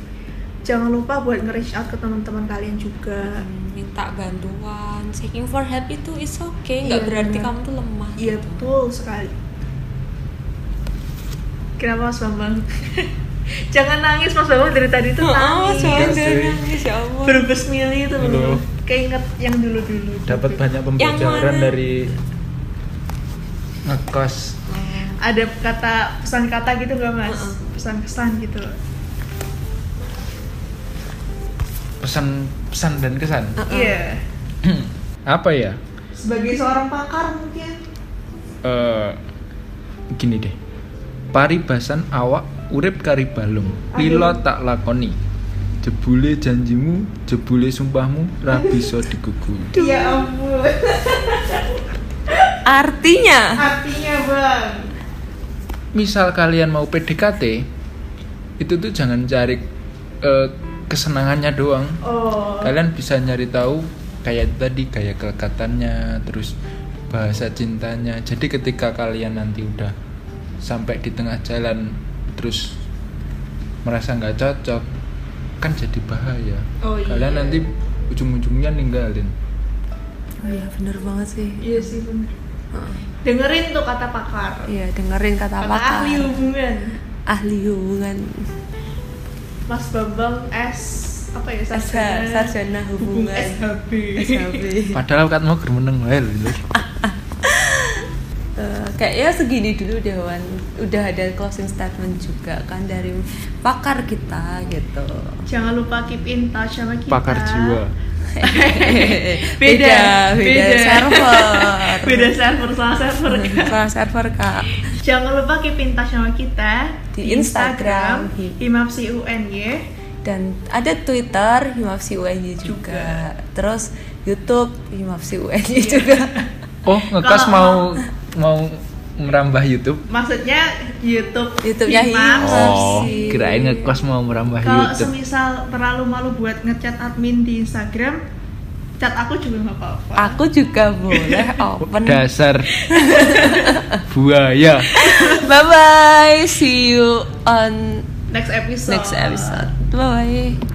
Speaker 1: jangan lupa buat nge-reach out ke teman-teman kalian juga
Speaker 2: Hmm, minta bantuan seeking for help itu is okay nggak
Speaker 1: Iya,
Speaker 2: berarti
Speaker 1: benar.
Speaker 2: kamu tuh lemah
Speaker 1: iya
Speaker 2: gitu.
Speaker 1: betul sekali kenapa mas bambang jangan nangis mas bambang dari tadi tuh
Speaker 2: Oh, oh,
Speaker 1: nangis
Speaker 2: soalnya
Speaker 3: Enggak
Speaker 2: dia
Speaker 3: sih.
Speaker 2: nangis, ya ampun.
Speaker 1: berbesmili itu
Speaker 3: Aduh.
Speaker 1: loh keinget yang dulu-dulu
Speaker 3: Dapat banyak pembelajaran
Speaker 2: mana?
Speaker 3: dari ngekos.
Speaker 1: ada kata pesan kata gitu nggak mas
Speaker 2: Heeh.
Speaker 1: pesan pesan gitu
Speaker 3: Pesan pesan dan kesan.
Speaker 2: Heeh.
Speaker 1: iya
Speaker 3: Apa ya?
Speaker 1: sebagai seorang pakar mungkin
Speaker 3: Eh gini deh. Paribasan awak urip kari balung. Lilo tak lakoni. Jebule janjimu, jebule sumpahmu, ra bisa digugur.
Speaker 1: ya ampun
Speaker 2: artinya
Speaker 1: artinya bang
Speaker 3: misal kalian mau PDKT itu tuh jangan cari eh, kesenangannya doang
Speaker 1: oh
Speaker 3: kalian bisa nyari tahu kayak tadi kayak kelekatannya terus bahasa cintanya jadi ketika kalian nanti udah sampai di tengah jalan terus merasa nggak cocok kan jadi bahaya
Speaker 1: Oh, iya.
Speaker 3: kalian nanti ujung-ujungnya ninggalin
Speaker 2: oh iya bener banget sih
Speaker 1: iya sih bener dengerin tuh kata pakar
Speaker 2: Iya, dengerin kata
Speaker 1: kata
Speaker 2: pakar.
Speaker 1: ahli hubungan
Speaker 2: Ahli hubungan.
Speaker 1: Mas Bambang S apa ya sarjana
Speaker 2: Sarjana- sarjana hubungan.
Speaker 1: SHB
Speaker 2: SHB.
Speaker 3: Padahal kan mau germeneng wae lho.
Speaker 2: Eh, kayaknya segini dulu deh Wan udah ada closing statement juga kan dari pakar kita gitu
Speaker 1: jangan lupa keep in touch sama kita
Speaker 3: Pakar jiwa.
Speaker 2: beda beda,
Speaker 1: beda.
Speaker 2: server
Speaker 1: beda server salah server Kak.
Speaker 2: salah server kak
Speaker 1: jangan lupa keep in touch sama kita
Speaker 2: Di Instagram, Hi-
Speaker 1: himapsiuny
Speaker 2: dan ada Twitter Himapsi UNY juga.
Speaker 1: Juga. Iya.
Speaker 2: terus YouTube Himapsi UNY juga
Speaker 3: Oh, ngekas
Speaker 1: Kalau-
Speaker 3: mau mau merambah YouTube.
Speaker 1: maksudnya YouTube ya, iya.
Speaker 2: YouTube-nya
Speaker 1: Himap.
Speaker 2: Himap.
Speaker 3: Oh,
Speaker 2: sih.
Speaker 3: kirain ngekos mau merambah
Speaker 1: kalau
Speaker 3: YouTube.
Speaker 1: semisal terlalu malu buat ngechat admin di Instagram chat aku juga nggak apa-apa
Speaker 2: aku juga boleh open
Speaker 3: Dasar buaya.
Speaker 2: bye bye see you on
Speaker 1: next episode
Speaker 2: next episode bye bye